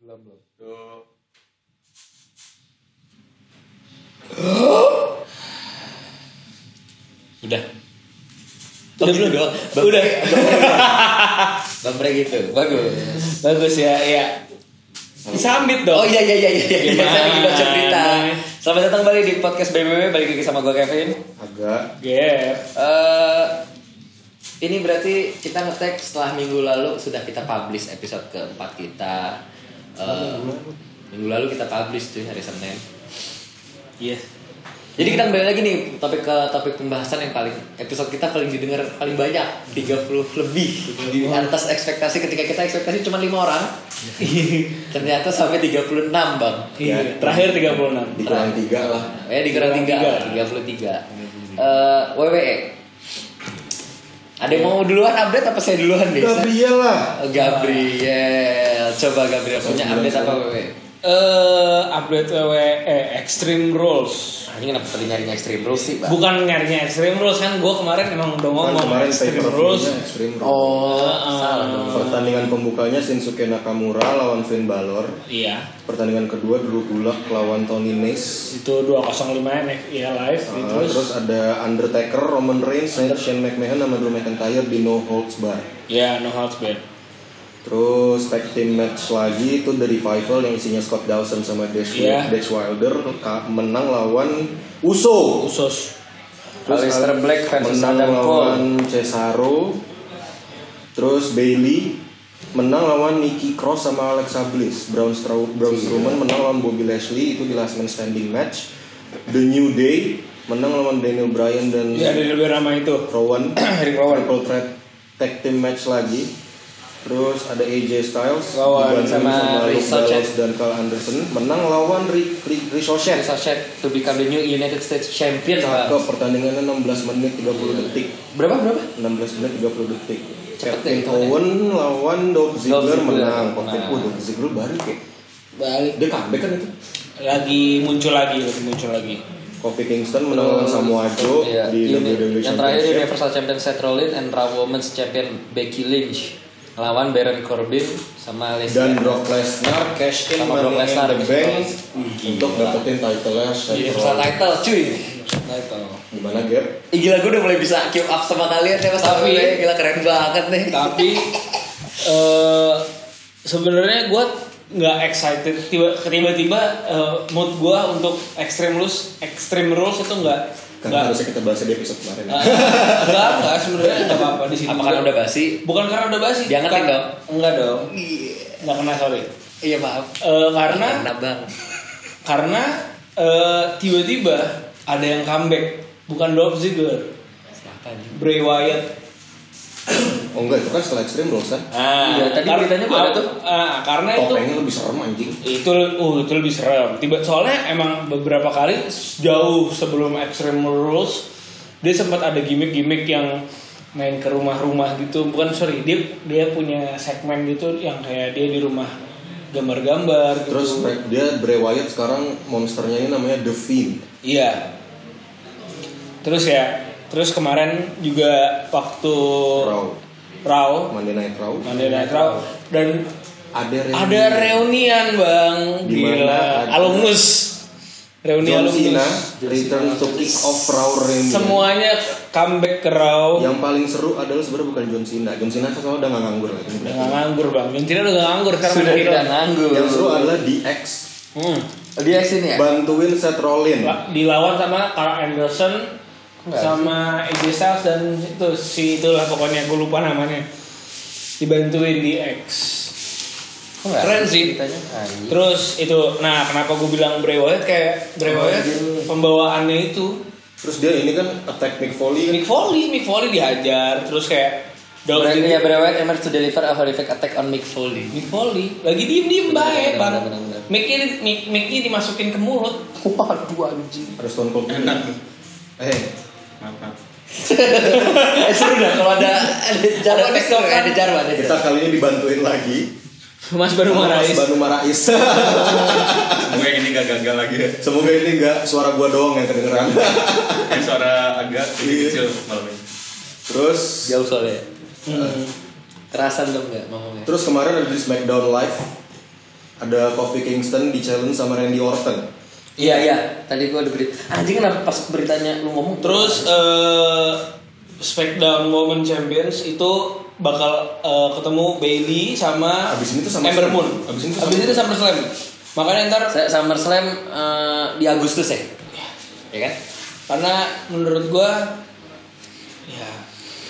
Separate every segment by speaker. Speaker 1: belum belum
Speaker 2: Tuh.
Speaker 3: Udah. Udah belum dong. Udah.
Speaker 1: Baper gitu bagus
Speaker 3: Bagus ya, ya. Sambit dong.
Speaker 1: oh iya iya iya iya iya
Speaker 3: Gimana?
Speaker 1: saya bikin cerita selamat datang kembali di podcast BBB balik lagi sama gue Kevin
Speaker 2: Agak.
Speaker 3: Gap.
Speaker 1: Eh, ini berarti kita ngetek setelah minggu lalu sudah kita publish episode keempat kita. Eh, minggu lalu kita publish tuh hari Senin.
Speaker 3: Iya.
Speaker 1: Jadi kita kembali lagi nih topik ke topik pembahasan yang paling episode kita paling didengar paling banyak 30 lebih di atas ekspektasi ketika kita ekspektasi cuma lima orang ternyata sampai 36 bang
Speaker 3: Iya. Terakhir 36.
Speaker 2: Dikurang tiga lah.
Speaker 1: ya di kurang tiga lah, 33 Eh, WWE ada yang mau duluan update apa saya duluan deh Saya-
Speaker 2: Gabriel lah.
Speaker 1: Gabriel, coba Gabriel punya
Speaker 2: Gabriel,
Speaker 1: update apa E?
Speaker 2: coba.
Speaker 1: WWE?
Speaker 3: Eh, update WWE Extreme Rules.
Speaker 1: Ini kenapa tadi nyarinya Extreme Rules sih, Bang?
Speaker 3: Bukan nyarinya Extreme Rules kan gue kemarin emang udah
Speaker 2: Kan
Speaker 3: ngomong
Speaker 2: kemarin saya
Speaker 3: Extreme Rules.
Speaker 2: Extreme Rules.
Speaker 1: Oh,
Speaker 3: Ah,
Speaker 1: salah
Speaker 3: ah.
Speaker 1: dong.
Speaker 2: Pertandingan pembukanya Shinsuke Nakamura lawan Finn Balor.
Speaker 3: Iya.
Speaker 2: Pertandingan kedua Drew Gulak lawan Tony Nese.
Speaker 3: Itu 205 ya live
Speaker 2: Ah,
Speaker 3: gitu.
Speaker 2: terus, ada Undertaker, Roman Reigns, Shane McMahon sama Drew McIntyre di No Holds Bar.
Speaker 3: Ya, no holds barred.
Speaker 2: Terus tag team match lagi itu The Revival yang isinya Scott Dawson sama Dash,
Speaker 3: Iya.
Speaker 2: Dash Wilder ka- menang lawan Uso.
Speaker 3: Usos.
Speaker 1: Aleister Black versus
Speaker 2: menang
Speaker 1: Adam
Speaker 2: lawan Cesaro. Terus Bailey menang lawan Nikki Cross sama Alexa Bliss. Braun, Strau Braun
Speaker 1: Iya.
Speaker 2: Strowman menang lawan Bobby Lashley itu di last man standing match. The New Day menang lawan Daniel Bryan dan
Speaker 3: Iya, ada lebih ramai itu.
Speaker 2: Rowan
Speaker 3: Eric Rowan.
Speaker 2: Triple threat tag team match lagi Terus ada AJ Styles
Speaker 3: Lawan
Speaker 2: dibantuin
Speaker 1: sama
Speaker 2: Luke
Speaker 1: Ricochet.
Speaker 2: Gallows dan Carl Anderson Menang lawan Ri- Ri- Ricochet
Speaker 1: Ricochet to become the new United States Champion,
Speaker 2: Ke
Speaker 1: Bang.
Speaker 2: pertandingannya 16 menit 30 detik
Speaker 1: Berapa berapa?
Speaker 2: 16 menit 30 detik
Speaker 1: Cepet
Speaker 2: Kevin
Speaker 1: ya, hitungannya.
Speaker 2: Owen lawan Dolph Ziggler
Speaker 1: Ziggler Nah.
Speaker 2: menang Kevin
Speaker 1: menang.
Speaker 2: Owen Dolph Ziggler baru kayak
Speaker 3: Balik.
Speaker 2: Dia comeback kan itu
Speaker 3: Lagi muncul lagi, lagi muncul lagi.
Speaker 2: Kofi Kingston menang lawan Samoa Joe
Speaker 1: Iya, ini-
Speaker 2: di WWE
Speaker 1: Yang terakhir
Speaker 2: Championship
Speaker 1: Universal Champion Seth Rollins and Raw Women's Champion Becky Lynch lawan Baron Corbin sama
Speaker 2: dan
Speaker 1: Lesnar.
Speaker 2: Brock Lesnar cash in
Speaker 1: Sama Brock
Speaker 2: Money in
Speaker 1: Lesnar,
Speaker 2: the
Speaker 1: Miss
Speaker 2: Bank
Speaker 1: Rose.
Speaker 2: untuk dapetin title-nya
Speaker 1: Universal
Speaker 2: Seth
Speaker 1: title, cuy. Title.
Speaker 2: Gimana Gap?
Speaker 1: Ih, gila gue udah mulai bisa keep up sama kalian ya mas
Speaker 3: Tapi-
Speaker 1: Tapi, gila keren banget nih
Speaker 3: tapi eh sebenarnya gue nggak excited tiba tiba-tiba eh, mood gue untuk extreme rules extreme rules itu nggak nggak
Speaker 2: Karena harusnya kita bahas di episode kemarin
Speaker 3: eh,
Speaker 1: Ah.
Speaker 3: nggak nggak sebenarnya nggak apa-apa di sini
Speaker 1: Apa karena udah basi?
Speaker 3: bukan karena udah basi
Speaker 1: Dia ngerti
Speaker 3: Bukan-
Speaker 1: dong.
Speaker 3: enggak dong
Speaker 1: Iya
Speaker 3: nggak kena sorry
Speaker 1: Iya maaf
Speaker 3: Eh, karena
Speaker 1: Karena bang
Speaker 3: karena eh, tiba-tiba ada yang comeback bukan Dolph Ziggler
Speaker 1: Siapa nih?
Speaker 3: Bray Wyatt
Speaker 2: Oh enggak, itu kan setelah Extreme Rules kan
Speaker 3: Ah,
Speaker 1: Iya, tadi
Speaker 3: kar-
Speaker 1: beritanya gua ada tuh.
Speaker 3: ah,
Speaker 1: Nah,
Speaker 3: karena itu
Speaker 2: Topengnya lebih serem anjing
Speaker 3: itu uh itu lebih serem tiba soalnya emang beberapa kali jauh sebelum Extreme Rules dia sempat ada gimmick-gimmick yang main ke rumah-rumah gitu bukan sorry dia dia punya segmen gitu yang kayak dia di rumah gambar-gambar gitu
Speaker 2: Terus Bra- dia Bray Wyatt sekarang monsternya ini namanya The Fiend
Speaker 3: iya terus ya terus kemarin juga waktu
Speaker 2: Raw
Speaker 3: Raw
Speaker 2: Monday Night Raw
Speaker 1: Nah.
Speaker 3: Monday Night Raw dan
Speaker 2: Ada reuni
Speaker 3: ada reunian bang
Speaker 2: Di mana
Speaker 3: Gila.
Speaker 2: ada-
Speaker 3: alumnus reuni
Speaker 2: John Cena
Speaker 3: alumnus
Speaker 2: Return to Kick Off Raw Reunion
Speaker 1: Iya.
Speaker 3: semuanya comeback ke Raw
Speaker 2: Yang paling seru adalah sebenarnya bukan John Cena John Cena kan udah gak nganggur lagi
Speaker 3: udah gak nganggur bang John Cena udah gak nganggur sekarang
Speaker 1: Sudah
Speaker 3: main
Speaker 1: tidak
Speaker 3: hero.
Speaker 1: nganggur
Speaker 2: Yang seru adalah DX
Speaker 3: hmm.
Speaker 1: Dia sini ya?
Speaker 2: Bantuin Seth Rollins
Speaker 3: La- dilawan sama Carl Anderson
Speaker 1: Enggak
Speaker 3: sama AJ Styles dan itu si itulah pokoknya gue lupa namanya dibantuin di X
Speaker 1: Kok nggak
Speaker 3: Keren
Speaker 1: ada
Speaker 3: sih.
Speaker 1: ceritanya? Ah, iya.
Speaker 3: terus itu nah kenapa gue bilang Bray Wyatt kayak Bray
Speaker 1: Oh,
Speaker 3: Wyatt
Speaker 1: iya.
Speaker 3: pembawaannya itu
Speaker 2: Terus dia ini kan attack Mick Foley
Speaker 3: Mick Foley Mick Foley dihajar terterus kayak Dolph
Speaker 1: Brad- ya,
Speaker 3: Ziggler-
Speaker 1: Bray Wyatt emerged to deliver a horrific attack on Mick Foley.
Speaker 3: Mick Foley lagi diem diem baik
Speaker 1: benar,
Speaker 3: bang
Speaker 1: benar, benar.
Speaker 3: Mickey Mick, Mickey dimasukin ke mulut
Speaker 1: Waduh anjing.
Speaker 2: Ada Stone Cold Enak Eh
Speaker 1: Eh, seru dah kalau ada ada jarwa
Speaker 3: Apa
Speaker 1: tektor,
Speaker 3: misalkan-
Speaker 1: ada jarwa ada
Speaker 2: Kita
Speaker 1: jarwa.
Speaker 2: kali ini dibantuin lagi
Speaker 3: Mas baru
Speaker 2: Mas Banu Marais
Speaker 4: Semoga yang ini gak gagal lagi ya.
Speaker 2: Semoga ini enggak suara gua doang yang kedengeran
Speaker 4: Yang suara agak
Speaker 2: Iya.
Speaker 4: kecil malam ini.
Speaker 2: Terus
Speaker 1: Jauh soalnya.
Speaker 3: Hmm.
Speaker 1: Kerasan dong nggak ngomongnya?
Speaker 2: Terus kemarin ada di Smackdown Live ada Kofi Kingston di challenge sama Randy Orton
Speaker 1: Iya iya, tadi gua ada berita. Ah, Anjing kenapa pas beritanya lu ngomong
Speaker 3: Terus eh, Smackdown Women Champions itu bakal eh, ketemu Bailey sama
Speaker 2: Abis ini tuh sama
Speaker 3: Ember
Speaker 2: Slam.
Speaker 3: Moon.
Speaker 2: Abis ini tuh
Speaker 3: Abis
Speaker 2: sama-
Speaker 3: itu sama Slam. Makanya ntar
Speaker 1: Sa- SummerSlam eh, di Agustus ya? Iya kan?
Speaker 3: karena menurut gua ya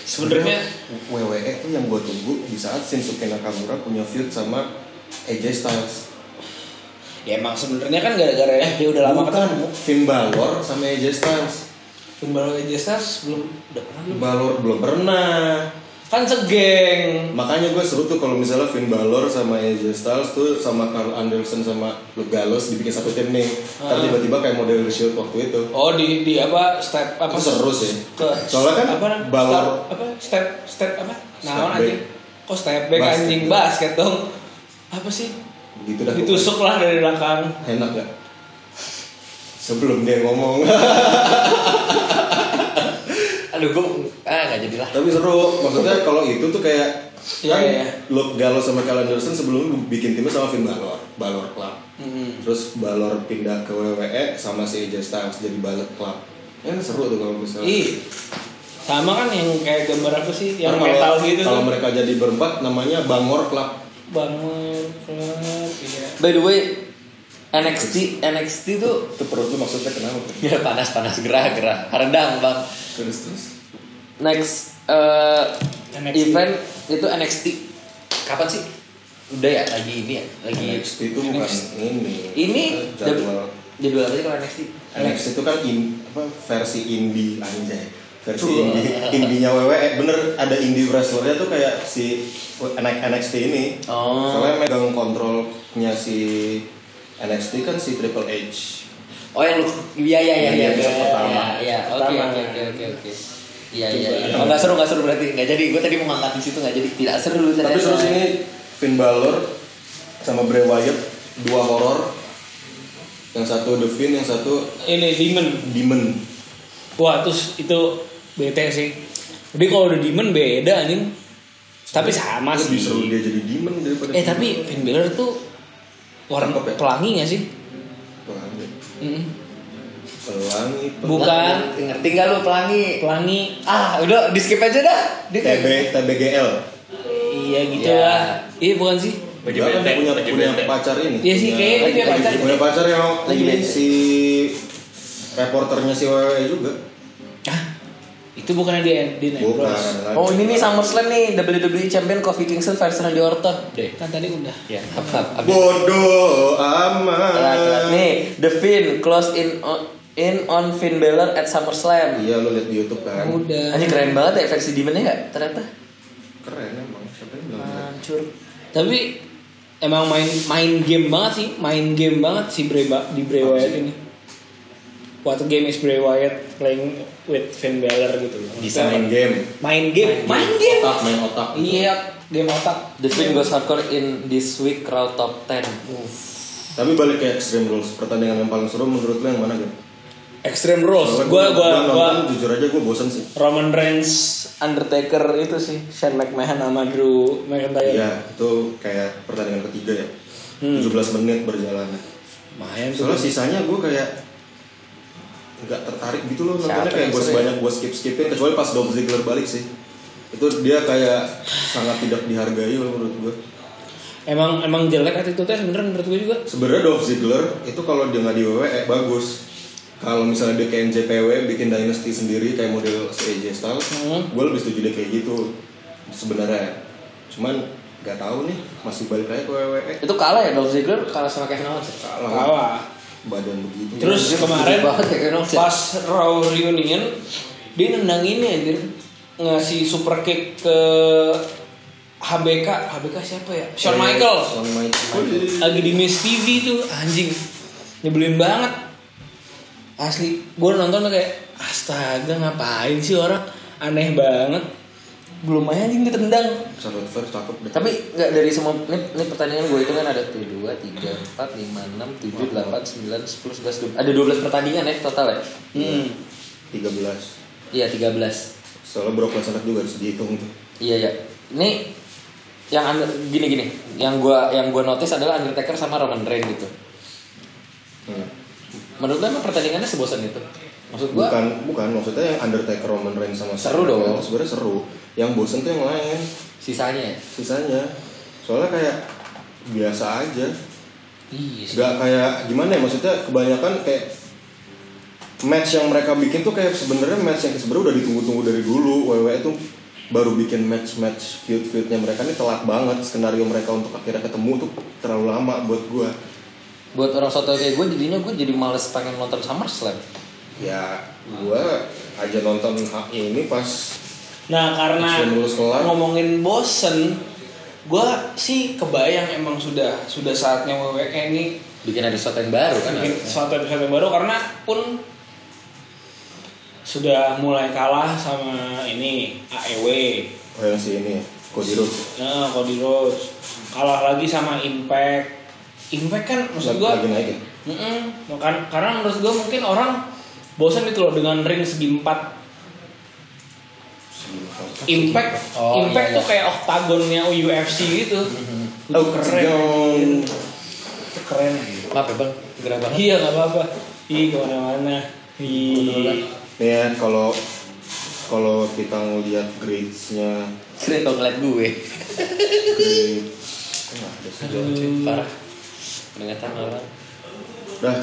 Speaker 3: sebenarnya
Speaker 2: WWE E tuh yang gue tunggu di saat Shinsuke Nakamura punya feud sama AJ Styles
Speaker 3: ya emang sebenarnya kan gara-gara eh dia udah lama
Speaker 2: Bukan,
Speaker 3: ketemu.
Speaker 2: Finn Balor sama AJ Styles
Speaker 3: Timbal AJ Styles belum udah pernah belum?
Speaker 2: Balor belum pernah
Speaker 3: Kan segeng.
Speaker 2: Makanya gue seru tuh kalau misalnya Finn Balor sama AJ Styles tuh sama Carl Anderson sama Luke Gallows dibikin satu tim nih.
Speaker 3: Ah.
Speaker 2: Ntar tiba-tiba kayak model The Shield waktu itu.
Speaker 3: Oh di di apa step apa
Speaker 2: Itu seru sih.
Speaker 3: ke
Speaker 2: ya. Soalnya kan
Speaker 3: apa
Speaker 2: Balor-
Speaker 3: step, apa step step apa
Speaker 2: Step
Speaker 3: naon
Speaker 2: back.
Speaker 3: anjing kok step back
Speaker 2: Basket.
Speaker 3: anjing basket dong apa sih
Speaker 2: Begitu Gitu dah.
Speaker 3: ditusuk lah dari belakang
Speaker 2: Enak gak? Sebelum dia ngomong.
Speaker 1: Aduh gua ah nggak jadilah.
Speaker 2: Tapi seru. Maksudnya kalau itu tuh kayak
Speaker 3: Iya,
Speaker 2: kan
Speaker 3: iya.
Speaker 2: Luke Gallows sama Carl Anderson sebelum bikin timnya sama Finn Balor. Balor Club.
Speaker 3: Mm-hmm.
Speaker 2: Terus Balor pindah ke WWE sama si AJ Styles jadi Balor Club. Ya seru tuh kalau misalnya.
Speaker 3: ih sama kan yang kayak gambar apa sih yang
Speaker 2: Ntar
Speaker 3: metal
Speaker 2: kalau,
Speaker 3: gitu
Speaker 2: kalau
Speaker 3: tuh.
Speaker 2: mereka jadi berempat namanya Bangor Club
Speaker 3: bangun keluar, iya
Speaker 1: By the way, NXT NXT tuh
Speaker 2: itu perut lu maksudnya kenapa
Speaker 1: ya
Speaker 3: Iya.
Speaker 1: panas panas gerah gerah rendang bang.
Speaker 2: terus terus
Speaker 1: Next eh,
Speaker 3: NXT.
Speaker 1: event itu NXT kapan sih? Udah ya lagi ini ya
Speaker 3: Iya.
Speaker 1: lagi
Speaker 2: NXT itu bukan ini
Speaker 1: ini
Speaker 2: jadwal
Speaker 1: jadwal Eh, jadwal apa sih kalau NXT?
Speaker 2: NXT itu kan in- apa, versi indie anjay versi indie indinya WWE E. Eh, bener ada indie wrestlernya tuh kayak si NXT ini
Speaker 1: Oh.
Speaker 2: soalnya megang kontrolnya si NXT kan si Triple H
Speaker 1: Oh yang lu iya iya iya
Speaker 2: Yang
Speaker 1: iya
Speaker 2: di episode
Speaker 1: iya,
Speaker 2: pertama.
Speaker 1: iya oke
Speaker 3: Pertama.
Speaker 1: oke oke oke oke. Iya iya iya. Oh, nggak seru nggak seru berarti nggak jadi. Gue tadi mau ngangkat di situ nggak jadi. Tidak seru
Speaker 2: tapi
Speaker 1: ternyata.
Speaker 2: terus ini Finn Balor sama Bray Wyatt dua horor yang satu The Finn yang satu
Speaker 3: ini demon
Speaker 2: Demon
Speaker 3: wah terus itu bete sih jadi kalau udah demon beda anjing tapi sama
Speaker 2: Lebih seru
Speaker 3: sih
Speaker 2: dia jadi demon daripada
Speaker 3: eh tapi Finn Balor tuh warna
Speaker 2: Cakep ya?
Speaker 3: pelangi gak sih
Speaker 2: pelangi
Speaker 3: Mm.
Speaker 2: pelangi pel-
Speaker 3: Bukan.
Speaker 1: Ngerti nggak lu pelangi?
Speaker 3: Pelangi
Speaker 1: Ah udah di skip aja dah. Dia kayak-
Speaker 2: TB TBGL
Speaker 3: Iya gitu
Speaker 1: Iya.
Speaker 3: lah. Iya bukan sih?
Speaker 4: Baju
Speaker 2: Dia kan
Speaker 4: benteng,
Speaker 2: punya
Speaker 4: baju
Speaker 2: punya
Speaker 4: benteng.
Speaker 2: pacar ini
Speaker 3: Iya sih,
Speaker 2: Punya-
Speaker 3: kayaknya dia
Speaker 2: lagi-
Speaker 3: pacar.
Speaker 2: punya pacar yang
Speaker 1: Lagi
Speaker 2: ini
Speaker 1: benteng.
Speaker 2: si reporternya si WWE juga
Speaker 3: Hah? Itu bukannya di di
Speaker 2: bukan
Speaker 3: Nebros.
Speaker 1: Oh ini nih SummerSlam nih WWE Champion Kofi Kingston versi Randy Orton.
Speaker 4: Deh.
Speaker 3: Kan tadi udah.
Speaker 1: Ya. Apa? Abis.
Speaker 2: bodoh
Speaker 1: Telat-telat.
Speaker 2: amat
Speaker 1: Nih The Finn close in on, in on Finn Balor at SummerSlam.
Speaker 2: iya lu lihat di YouTube kan
Speaker 3: Udah.
Speaker 1: Anjir keren banget ya versi Demonnya nggak? Ternyata.
Speaker 2: keren emang siapa yang bilang gitu?
Speaker 3: Ah.
Speaker 2: keren?
Speaker 1: Hancur.
Speaker 3: Tapi emang main main game banget sih, main game banget si Bray Ba- di Bray Wyatt ini. What game is Bray Wyatt playing with Finn Balor gitu loh.
Speaker 2: bisa main game
Speaker 3: Main game, main game.
Speaker 2: otak main otak
Speaker 3: Iya, game otak.
Speaker 1: The Finn goes hardcore in this week crowd top 10.
Speaker 2: tapi balik ke Extreme Rules pertandingan yang paling seru menurut lu yang mana gitu
Speaker 3: Extreme Rules.
Speaker 2: Soalnya
Speaker 3: Gua gua
Speaker 2: gua
Speaker 3: gua
Speaker 2: nonton, jujur aja gue bosen sih
Speaker 3: Roman Reigns, Undertaker itu sih, Shane McMahon sama Drew McIntyre.
Speaker 2: Iya, itu kayak pertandingan ketiga ya. 17 menit berjalan.
Speaker 3: Main tuh.
Speaker 2: Soalnya sisanya gue kayak nggak tertarik gitu loh
Speaker 1: Siapa
Speaker 2: nontonnya kayak
Speaker 1: yang
Speaker 2: gue
Speaker 1: seru
Speaker 2: banyak gue skip skipin kecuali pas Dolph Ziggler balik sih itu dia kayak sangat tidak dihargai loh menurut gue
Speaker 3: Emang emang jelek attitude-nya sebenernya menurut gue juga.
Speaker 2: sebenarnya Dolph Ziggler itu kalau dia nggak di WWE bagus kalau misalnya dia kayak NJPW bikin dynasty sendiri kayak model si AJ Styles gue lebih setuju dia kayak gitu sebenarnya cuman nggak tahu nih masih balik aja ke WWE
Speaker 1: Itu kalah ya Dolph Ziggler kalah sama Kevin Owens. ya?
Speaker 2: kalah
Speaker 3: Kalah.
Speaker 2: badan begitu
Speaker 3: Terus
Speaker 1: Anjir,
Speaker 3: kemarin
Speaker 1: gede banget ya Kevin Owens. ya?
Speaker 3: pas Raw reunion dia nendang ini anjir ngasih super kick ke HBK, HBK siapa ya? Shawn
Speaker 1: Iya,
Speaker 3: Michaels.
Speaker 2: Shawn Michaels.
Speaker 3: Lagi di Miss TV tuh anjing. Nyebelin banget. Asli, gue nonton tuh kayak astaga ngapain sih orang aneh banget. Belum aja anjing ditendang.
Speaker 2: Charlotte Flair cakep deh.
Speaker 1: Tapi nggak dari semua ini, ini pertandingan gue itu kan ada tuh dua tiga empat lima enam tujuh delapan sembilan sepuluh sebelas dua ada dua belas pertandingan ya total ya.
Speaker 3: Hmm.
Speaker 2: 13
Speaker 1: Iya tiga belas.
Speaker 2: Soalnya Brock Lesnar juga harus dihitung tuh.
Speaker 1: Iya ya. Ini yang under- gini gini yang gua yang gua notice adalah Undertaker sama Roman Reigns gitu
Speaker 2: Nah,
Speaker 1: menurut lo emang pertandingannya sebosan itu maksud gua
Speaker 2: bukan bukan maksudnya yang Undertaker Roman Reigns sama
Speaker 1: Seru
Speaker 2: Cena
Speaker 1: dong.
Speaker 2: kan sebenarnya seru yang bosen tuh yang lain
Speaker 1: sisanya ya
Speaker 2: sisanya soalnya kayak biasa aja
Speaker 3: Iya. sih.
Speaker 2: nggak kayak gimana ya maksudnya kebanyakan kayak match yang mereka bikin tuh kayak sebenarnya match yang sebenarnya udah ditunggu-tunggu dari dulu WWE itu baru bikin match-match feud-feudnya mereka ini telat banget skenario mereka untuk akhirnya ketemu tuh terlalu lama buat gua
Speaker 1: buat orang soto kayak gue jadinya gue jadi males pengen nonton SummerSlam
Speaker 2: ya gua aja nonton hak ini pas
Speaker 3: Nah karena
Speaker 2: Sebelum lulus kelar.
Speaker 3: ngomongin bosen, gue sih kebayang emang sudah sudah saatnya WWE ini
Speaker 1: bikin ada sesuatu yang baru kan
Speaker 3: bikin
Speaker 1: harusnya.
Speaker 3: suatu episode yang baru karena pun sudah mulai kalah sama ini E AEW,
Speaker 2: oh yang si ini ya, Cody Rhodes
Speaker 3: nah, Cody Rhodes kalah lagi sama Impact. Impact kan maksud
Speaker 2: lagi,
Speaker 3: gue
Speaker 2: lagi naik ya
Speaker 3: Mm-mm. Makan- karena menurut gue mungkin orang bosan gitu loh dengan ring segi empat. Impact,
Speaker 1: Oh,
Speaker 3: impact
Speaker 1: iya, iya.
Speaker 3: tuh kayak oktagonnya UFC gitu. Itu
Speaker 2: Oh,
Speaker 3: keren,
Speaker 2: sedang.
Speaker 3: Itu keren.
Speaker 1: maaf ya bang gerah banget
Speaker 3: Iya nggak apa-apa. Ih kemana-mana. Ih.
Speaker 2: Nih ya kalau kalau kita ngeliat grades-nya
Speaker 1: keren kalau ngeliat gue
Speaker 2: grade Wah, ada sejauh.
Speaker 1: parah Peringatan orang
Speaker 2: Dah,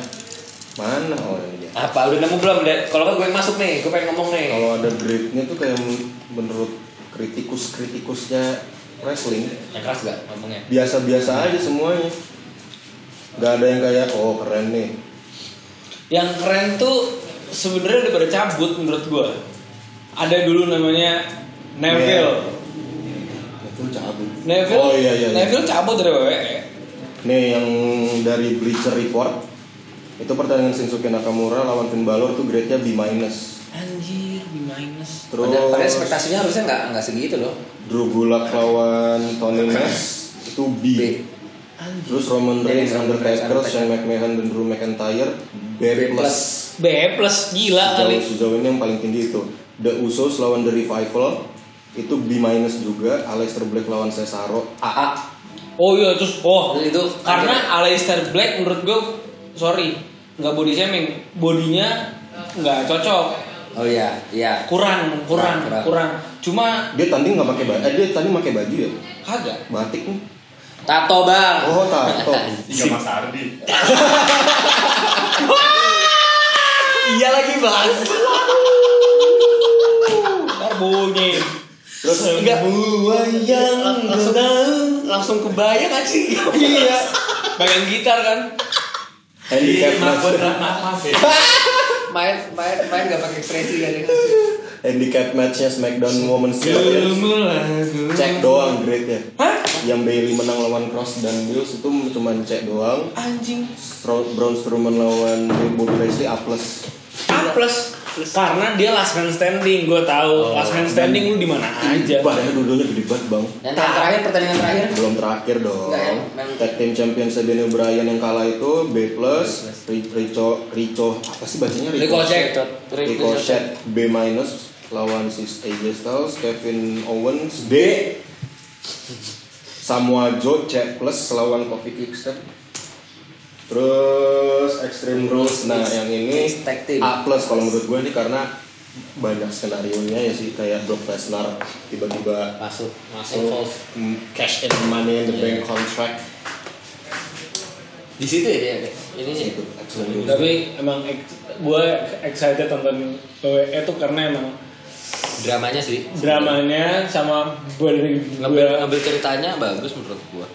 Speaker 2: mana orangnya?
Speaker 1: apa udah nemu belum Dek? kalau nggak gue yang masuk nih gue pengen ngomong nih
Speaker 2: Kalau ada grade-nya tuh kayak men- menurut kritikus-kritikusnya wrestling
Speaker 1: yang keras gak ngomongnya
Speaker 2: biasa-biasa aja semuanya. Gak ada yang kayak oh keren nih.
Speaker 3: Yang keren tuh sebenarnya daripada cabut menurut gue. Ada dulu namanya Neville.
Speaker 2: Neville cabut.
Speaker 3: Neville,
Speaker 2: Iya. Oh iya iya. iya.
Speaker 3: Neville cabut dari WWE.
Speaker 2: Nih yang dari Bleacher Report itu pertandingan Shinsuke Nakamura lawan Finn Balor tuh grade-nya B minus.
Speaker 3: Anjir, di minus.
Speaker 2: Terus
Speaker 1: Padahal, padahal ekspektasinya harusnya nggak nggak segitu loh
Speaker 2: Drew Gulak lawan Tony Ness itu B.
Speaker 1: B.
Speaker 2: Terus Roman
Speaker 1: Jadi
Speaker 2: Reigns,
Speaker 1: Roman Reigns,
Speaker 2: Undertaker,
Speaker 1: Undertaker.
Speaker 2: Shane McMahon, dan Drew McIntyre B+.
Speaker 1: B plus.
Speaker 3: B plus gila
Speaker 2: Sejauh,
Speaker 3: kali.
Speaker 2: sejauh ini yang paling tinggi itu The Usos lawan The Revival itu B- juga Aleister Black lawan Cesaro
Speaker 1: AA
Speaker 3: Oh iya terus oh
Speaker 1: Itu
Speaker 3: karena Aleister Black menurut gue sorry nggak body shaming bodinya nggak cocok
Speaker 1: oh iya iya
Speaker 3: kurang kurang
Speaker 1: Kurang,
Speaker 3: kurang, cuma
Speaker 2: dia tanding nggak pakai baju eh, dia tanding pakai baju ya
Speaker 3: kagak
Speaker 2: batik nih
Speaker 1: tato bang
Speaker 2: oh tato
Speaker 4: Tiga Mas Ardi.
Speaker 1: iya lagi bang
Speaker 3: ntar bunyi
Speaker 2: terus
Speaker 1: Enggak.
Speaker 2: buayang
Speaker 1: Iya, langsung langsung kebayang aja iya
Speaker 3: bagian gitar kan
Speaker 2: handicap
Speaker 3: maaf
Speaker 2: match
Speaker 3: maaf maaf ya
Speaker 1: main main main nggak pakai ekspresi kan ya
Speaker 2: handicap matchnya Smackdown Women's Champion
Speaker 3: Ilmu lagu.
Speaker 2: cek doang grade nya
Speaker 3: hah
Speaker 2: yang Bailey menang lawan Cross dan Mills itu cuma cek doang
Speaker 3: anjing
Speaker 2: Stro- Braun Strowman lawan Bobby Lashley A plus
Speaker 3: A plus karena dia last man standing gue tahu last man standing lu di mana aja
Speaker 2: bahannya dulunya gede banget bang
Speaker 1: yang terakhir pertandingan terakhir
Speaker 2: belum terakhir dong
Speaker 1: Enggak, yang- yang-
Speaker 2: tag team champion Daniel Bryan yang kalah itu B plus Ri- Rico Rico apa sih bacanya Rico
Speaker 1: Ricochet.
Speaker 2: Ricochet B minus lawan si AJ Styles Kevin Owens D Samoa Joe C plus lawan Kofi Kingston terus Extreme Rules nah yang ini
Speaker 1: Mixed tag team.
Speaker 2: A plus kalau menurut gue ini karena banyak skenario nya ya sih kayak Brock Lesnar tiba-tiba
Speaker 1: masuk
Speaker 2: So, mm, cash in money in the bank contract
Speaker 1: di situ ya dia ini sih
Speaker 2: itu excellent news.
Speaker 3: tapi emang ex- gue excited tonton WWE tuh karena emang
Speaker 1: dramanya sih
Speaker 3: dramanya sama body
Speaker 1: ngambil
Speaker 3: Iya.
Speaker 1: ngambil ceritanya bagus menurut gua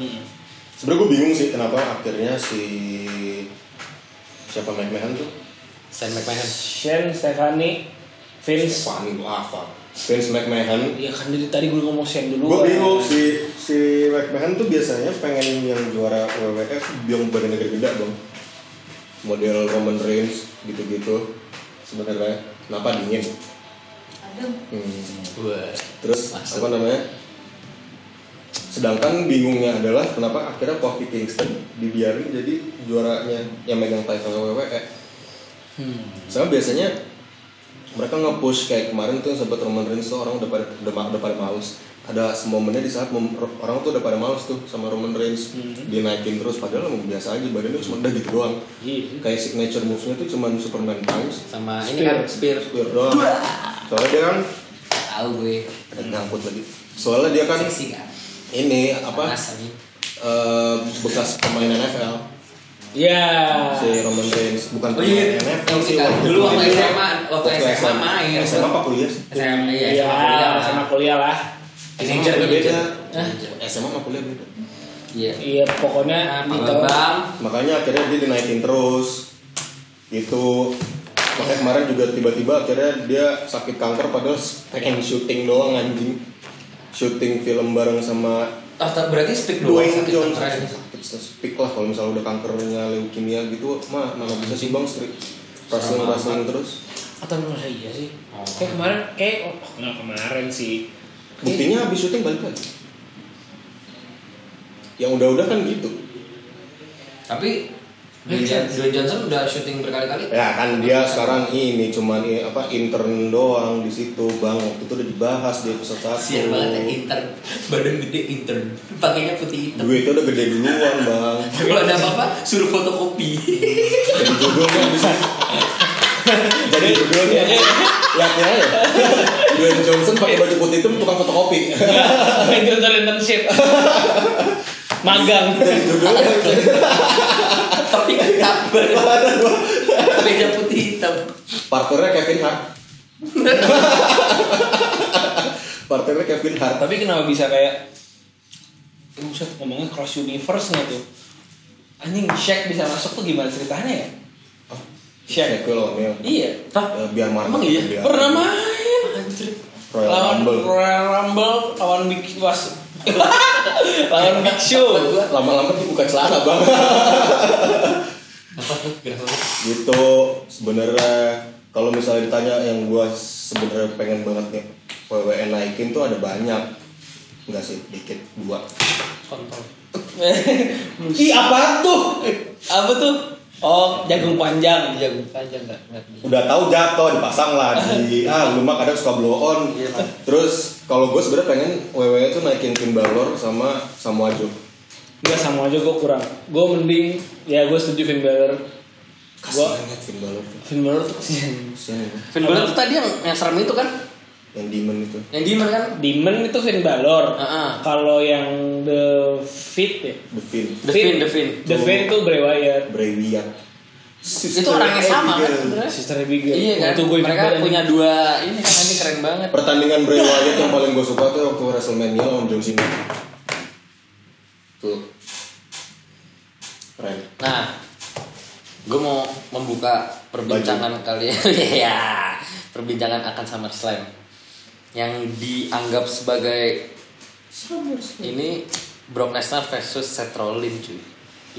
Speaker 2: sebenarnya gue bingung sih kenapa akhirnya si siapa McMahon tuh
Speaker 1: Sam McMahon
Speaker 3: Shane Stefani Vince
Speaker 2: Fanny Lava Vince McMahon
Speaker 3: ya kan dari tadi gue ngomong Shane dulu
Speaker 2: gue bingung si si McMahon tuh biasanya pengen yang juara WWF yang badannya gede-gede dong model Roman Reigns gitu-gitu sebenarnya kenapa dingin Hmm.
Speaker 1: Wah.
Speaker 2: Terus
Speaker 1: Masuk.
Speaker 2: apa namanya? Sedangkan bingungnya adalah kenapa akhirnya Kofi Kingston dibiarin jadi juaranya yang megang title WWE. Soalnya E. biasanya mereka nge-push kayak kemarin tuh yang sempat Roman Reigns tuh orang udah pada udah, udah pada males ada momennya di saat mem- orang tuh udah pada males tuh sama Roman Reigns dia naikin terus padahal emang biasa aja badannya cuma udah gitu doang
Speaker 3: Iya.
Speaker 2: kayak signature move-nya tuh cuman Superman punch
Speaker 1: sama ini kan spear
Speaker 2: spear doang soalnya dia kan
Speaker 1: tahu gue
Speaker 2: ada ngangkut lagi soalnya dia kan
Speaker 1: seksi kan
Speaker 2: ini apa
Speaker 1: panas anjing
Speaker 2: eh, bekas pemain NFL
Speaker 3: Ya.
Speaker 2: si Roman Reigns bukan
Speaker 1: Oh,
Speaker 2: pemain
Speaker 1: iya.
Speaker 2: NFL sih
Speaker 1: Iya,
Speaker 2: waktu
Speaker 1: dulu
Speaker 2: itu
Speaker 1: waktu
Speaker 2: dia-
Speaker 1: SMA, waktu SMA main.
Speaker 2: SMA apa kuliah sih?
Speaker 1: SMA iya
Speaker 3: Ya,
Speaker 1: sama kuliah lah.
Speaker 3: sama kuliah lah.
Speaker 1: Teenager,
Speaker 2: SMA beda
Speaker 1: Hah?
Speaker 2: SMA sama kuliah gitu. beda
Speaker 1: iya
Speaker 3: Iya, pokoknya
Speaker 1: Pak
Speaker 3: gitu.
Speaker 1: Bambang
Speaker 2: makanya akhirnya dia dinaikin terus itu makanya kemarin juga tiba-tiba akhirnya dia sakit kanker padahal pengen syuting doang anjing syuting film bareng sama
Speaker 1: oh tak- berarti speak doang
Speaker 2: Dwayne
Speaker 1: sakit
Speaker 2: Johnson
Speaker 1: kanker.
Speaker 2: Sakit speak lah kalau misalnya udah kankernya leukemia gitu mah mana bisa sih bang strik wrestling wrestling terus
Speaker 3: Atau menurut saya iya sih. Kayak kemarin kayak oh, nggak kemarin sih.
Speaker 2: buktinya habis syuting balik lagi yang udah-udah kan gitu
Speaker 1: tapi Dwayne Dwayne Johnson udah syuting berkali-kali
Speaker 2: Ya kan dia sekarang ini cuman i- apa intern doang di situ bang waktu itu udah dibahas di episode
Speaker 1: Sian banget ya,
Speaker 2: satu.
Speaker 1: intern Badan gede intern Pakainya putih hitam
Speaker 2: Duitnya udah gede duluan bang.
Speaker 1: Kalau ada apa-apa suruh fotokopi
Speaker 2: Jadi judulnya bisa. Jadi
Speaker 3: Iya,
Speaker 2: judulnya lihatnya ya. Dwayne Johnson pakai baju putih itu tukang fotokopi.
Speaker 3: Mentor internship. Magang.
Speaker 2: Jadi judulnya
Speaker 1: Tapi ketabur Meja putih hitam
Speaker 2: partnernya Kevin Hart. partnernya Kevin Hart.
Speaker 3: Tapi kenapa bisa kayak Eh, Buset, ngomongnya cross universe nggak tuh? Anjing, Shaq bisa masuk tuh gimana ceritanya ya? Shaq.
Speaker 2: Shaquille O'Neal.
Speaker 3: Iya.
Speaker 2: Eh,
Speaker 3: Hah?
Speaker 2: Biar
Speaker 3: Emang
Speaker 2: mantap.
Speaker 3: iya?
Speaker 2: Biar-
Speaker 3: Pernah main.
Speaker 2: Royal
Speaker 3: lawan
Speaker 2: Rumble.
Speaker 3: Royal Rumble lawan Big Was. lawan Big Show.
Speaker 2: Lama-lama dibuka celana bang.
Speaker 1: Apa tuh? Kenapa?
Speaker 2: gitu sebenarnya kalau misalnya ditanya yang gua sebenarnya pengen banget nih PWN naikin tuh ada banyak enggak sih dikit dua
Speaker 1: Kontol
Speaker 3: Ih, apa tuh? Apa tuh? Oh, jagung panjang.
Speaker 1: Jagung panjang gak? Gak gini.
Speaker 2: udah tahu jatuh dipasang lah di ah lu mah kadang suka blow on terus kalau gue sebenarnya pengen WWE tuh naikin Finn Balor sama Samoa Joe
Speaker 3: Enggak sama aja gue kurang. Gue mending ya gue setuju Finn Balor.
Speaker 2: kasihan banget Finn Balor
Speaker 3: Finn Balor tuh kesian.
Speaker 2: kasihan ya
Speaker 1: Finn Balor tuh tadi yang, yang serem itu kan?
Speaker 2: yang demon itu
Speaker 1: Yang Demon kan?
Speaker 3: Demon itu Finn Balor.
Speaker 1: Heeh.
Speaker 3: Kalau yang The Fit ya.
Speaker 2: The Finn
Speaker 1: The Finn, The Finn
Speaker 3: The Fit tuh Bray Wyatt.
Speaker 2: Bray Wyatt
Speaker 1: Itu orangnya sama kan sebenarnya?
Speaker 3: Sister Abigail.
Speaker 1: Iya kan?
Speaker 3: Waktu gua
Speaker 1: Mereka
Speaker 3: Finn Balor.
Speaker 1: punya dua ini kan anjing keren banget
Speaker 2: Pertandingan Bray Wyatt yang paling gue suka tuh waktu WrestleMania lawan John Cena. Tuh. Keren.
Speaker 1: Nah, gue mau membuka perbincangan kalian ya, perbincangan akan SummerSlam yang dianggap sebagai ini Brock Lesnar versus Seth Rollins cuy.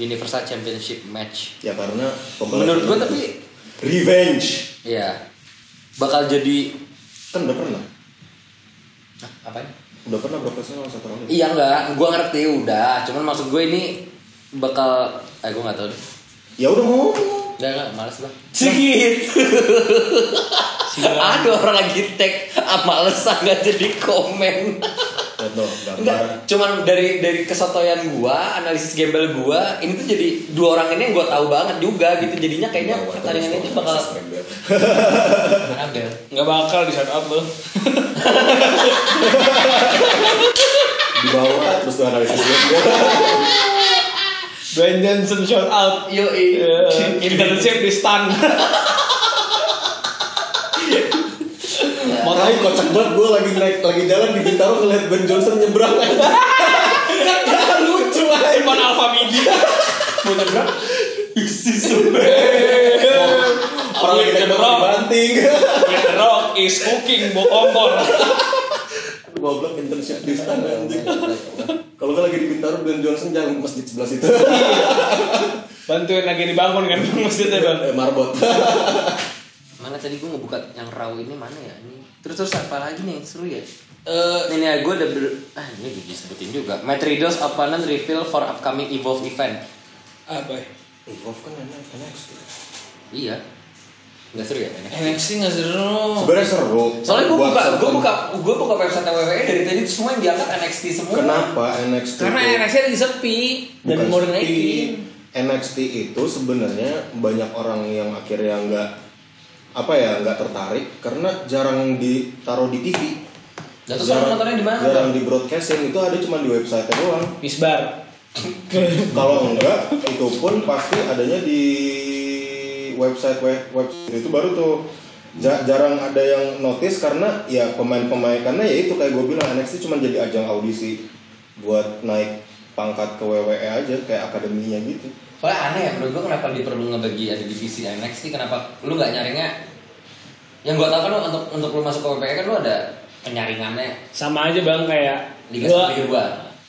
Speaker 1: Universal Championship match.
Speaker 2: Ya karena
Speaker 1: Menurut gue tapi
Speaker 2: revenge
Speaker 1: ya bakal jadi
Speaker 2: kan udah pernah.
Speaker 1: apa
Speaker 2: Udah pernah berapa sih lawan satu orang?
Speaker 1: Iya enggak, gue ngerti udah. Cuman maksud gue ini bakal, eh gue nggak tahu deh.
Speaker 2: Ya udah mau.
Speaker 1: Enggak enggak, males lah. Segitu. Ada orang lagi tag, ah males ah nggak jadi komen.
Speaker 2: Lihat dong, gambar.
Speaker 1: Enggak, cuman dari dari kesotoyan gua, analisis gembel gua, ini tuh jadi dua orang ini yang gua tahu banget juga gitu. Jadinya kayaknya pertandingan ini bakal Mana Bel?
Speaker 3: Nggak bakal di shut up loh.
Speaker 2: di bawah terus tuh analisis kan gue.
Speaker 3: Dwayne Johnson shut up.
Speaker 1: Yo,
Speaker 3: Yeah. Internship di stun.
Speaker 2: Makanya kocak banget gue lagi naik lagi jalan di Bintaro ngeliat Ben Johnson nyebrang aja.
Speaker 3: lucu aja. Cuman Alpha Midi. Mau nyebrang?
Speaker 2: Orang lagi naik motor
Speaker 3: nyebrang.
Speaker 2: dibanting.
Speaker 3: The Rock is cooking bokompor.
Speaker 2: Goblok internship di sana anjing. Kalau nggak lagi di Bintaro Ben Johnson jalan ke masjid sebelah situ.
Speaker 3: Bantuin lagi dibangun kan masjidnya bang.
Speaker 2: eh, marbot.
Speaker 1: Mana tadi gua ngebuka yang raw ini mana ya ini? Terus terus apa lagi nih yang seru ya? Eh, ini ya gua ada ber- ah ini udah disebutin juga. Matridos opponent reveal for upcoming Evolve event.
Speaker 3: Apa? ya?
Speaker 2: Evolve kan enak NXT.
Speaker 1: Iya. Nggak seru ya? ini?
Speaker 3: NXT nggak seru.
Speaker 2: Oh. Sebenarnya seru.
Speaker 1: Eh,
Speaker 2: kan?
Speaker 3: Soalnya gue
Speaker 2: Buat
Speaker 3: buka, gue
Speaker 2: certain-
Speaker 3: buka, gue buka website
Speaker 1: E
Speaker 3: WWE dari tadi semua yang diangkat NXT semua.
Speaker 2: Kenapa NXT?
Speaker 3: Karena
Speaker 2: itu-
Speaker 3: NXT lagi sepi dan
Speaker 2: Bukan
Speaker 3: Modern
Speaker 2: sepi.
Speaker 3: Age.
Speaker 2: NXT itu sebenarnya banyak orang yang akhirnya nggak apa ya nggak tertarik karena jarang ditaruh di TV.
Speaker 3: Lah, terus orang nontonnya di mana?
Speaker 2: Jarang di broadcasting itu ada cuma di website doang.
Speaker 3: Misbar.
Speaker 2: Kalau enggak itu pun pasti adanya di website web website itu baru tuh Ja- jarang ada yang notice karena ya pemain-pemain karena ya itu kayak gue bilang NXT cuma jadi ajang audisi buat naik pangkat ke WWE aja kayak akademinya gitu.
Speaker 1: Soalnya aneh ya menurut gue kenapa dia perlu ngebagi ada divisi NXT kenapa lu nggak nyaringnya yang gue tau kan lu untuk untuk lu masuk ke WPE kan lu ada penyaringannya
Speaker 3: Sama aja bang kayak
Speaker 1: liga
Speaker 3: gua-
Speaker 1: satu liga dua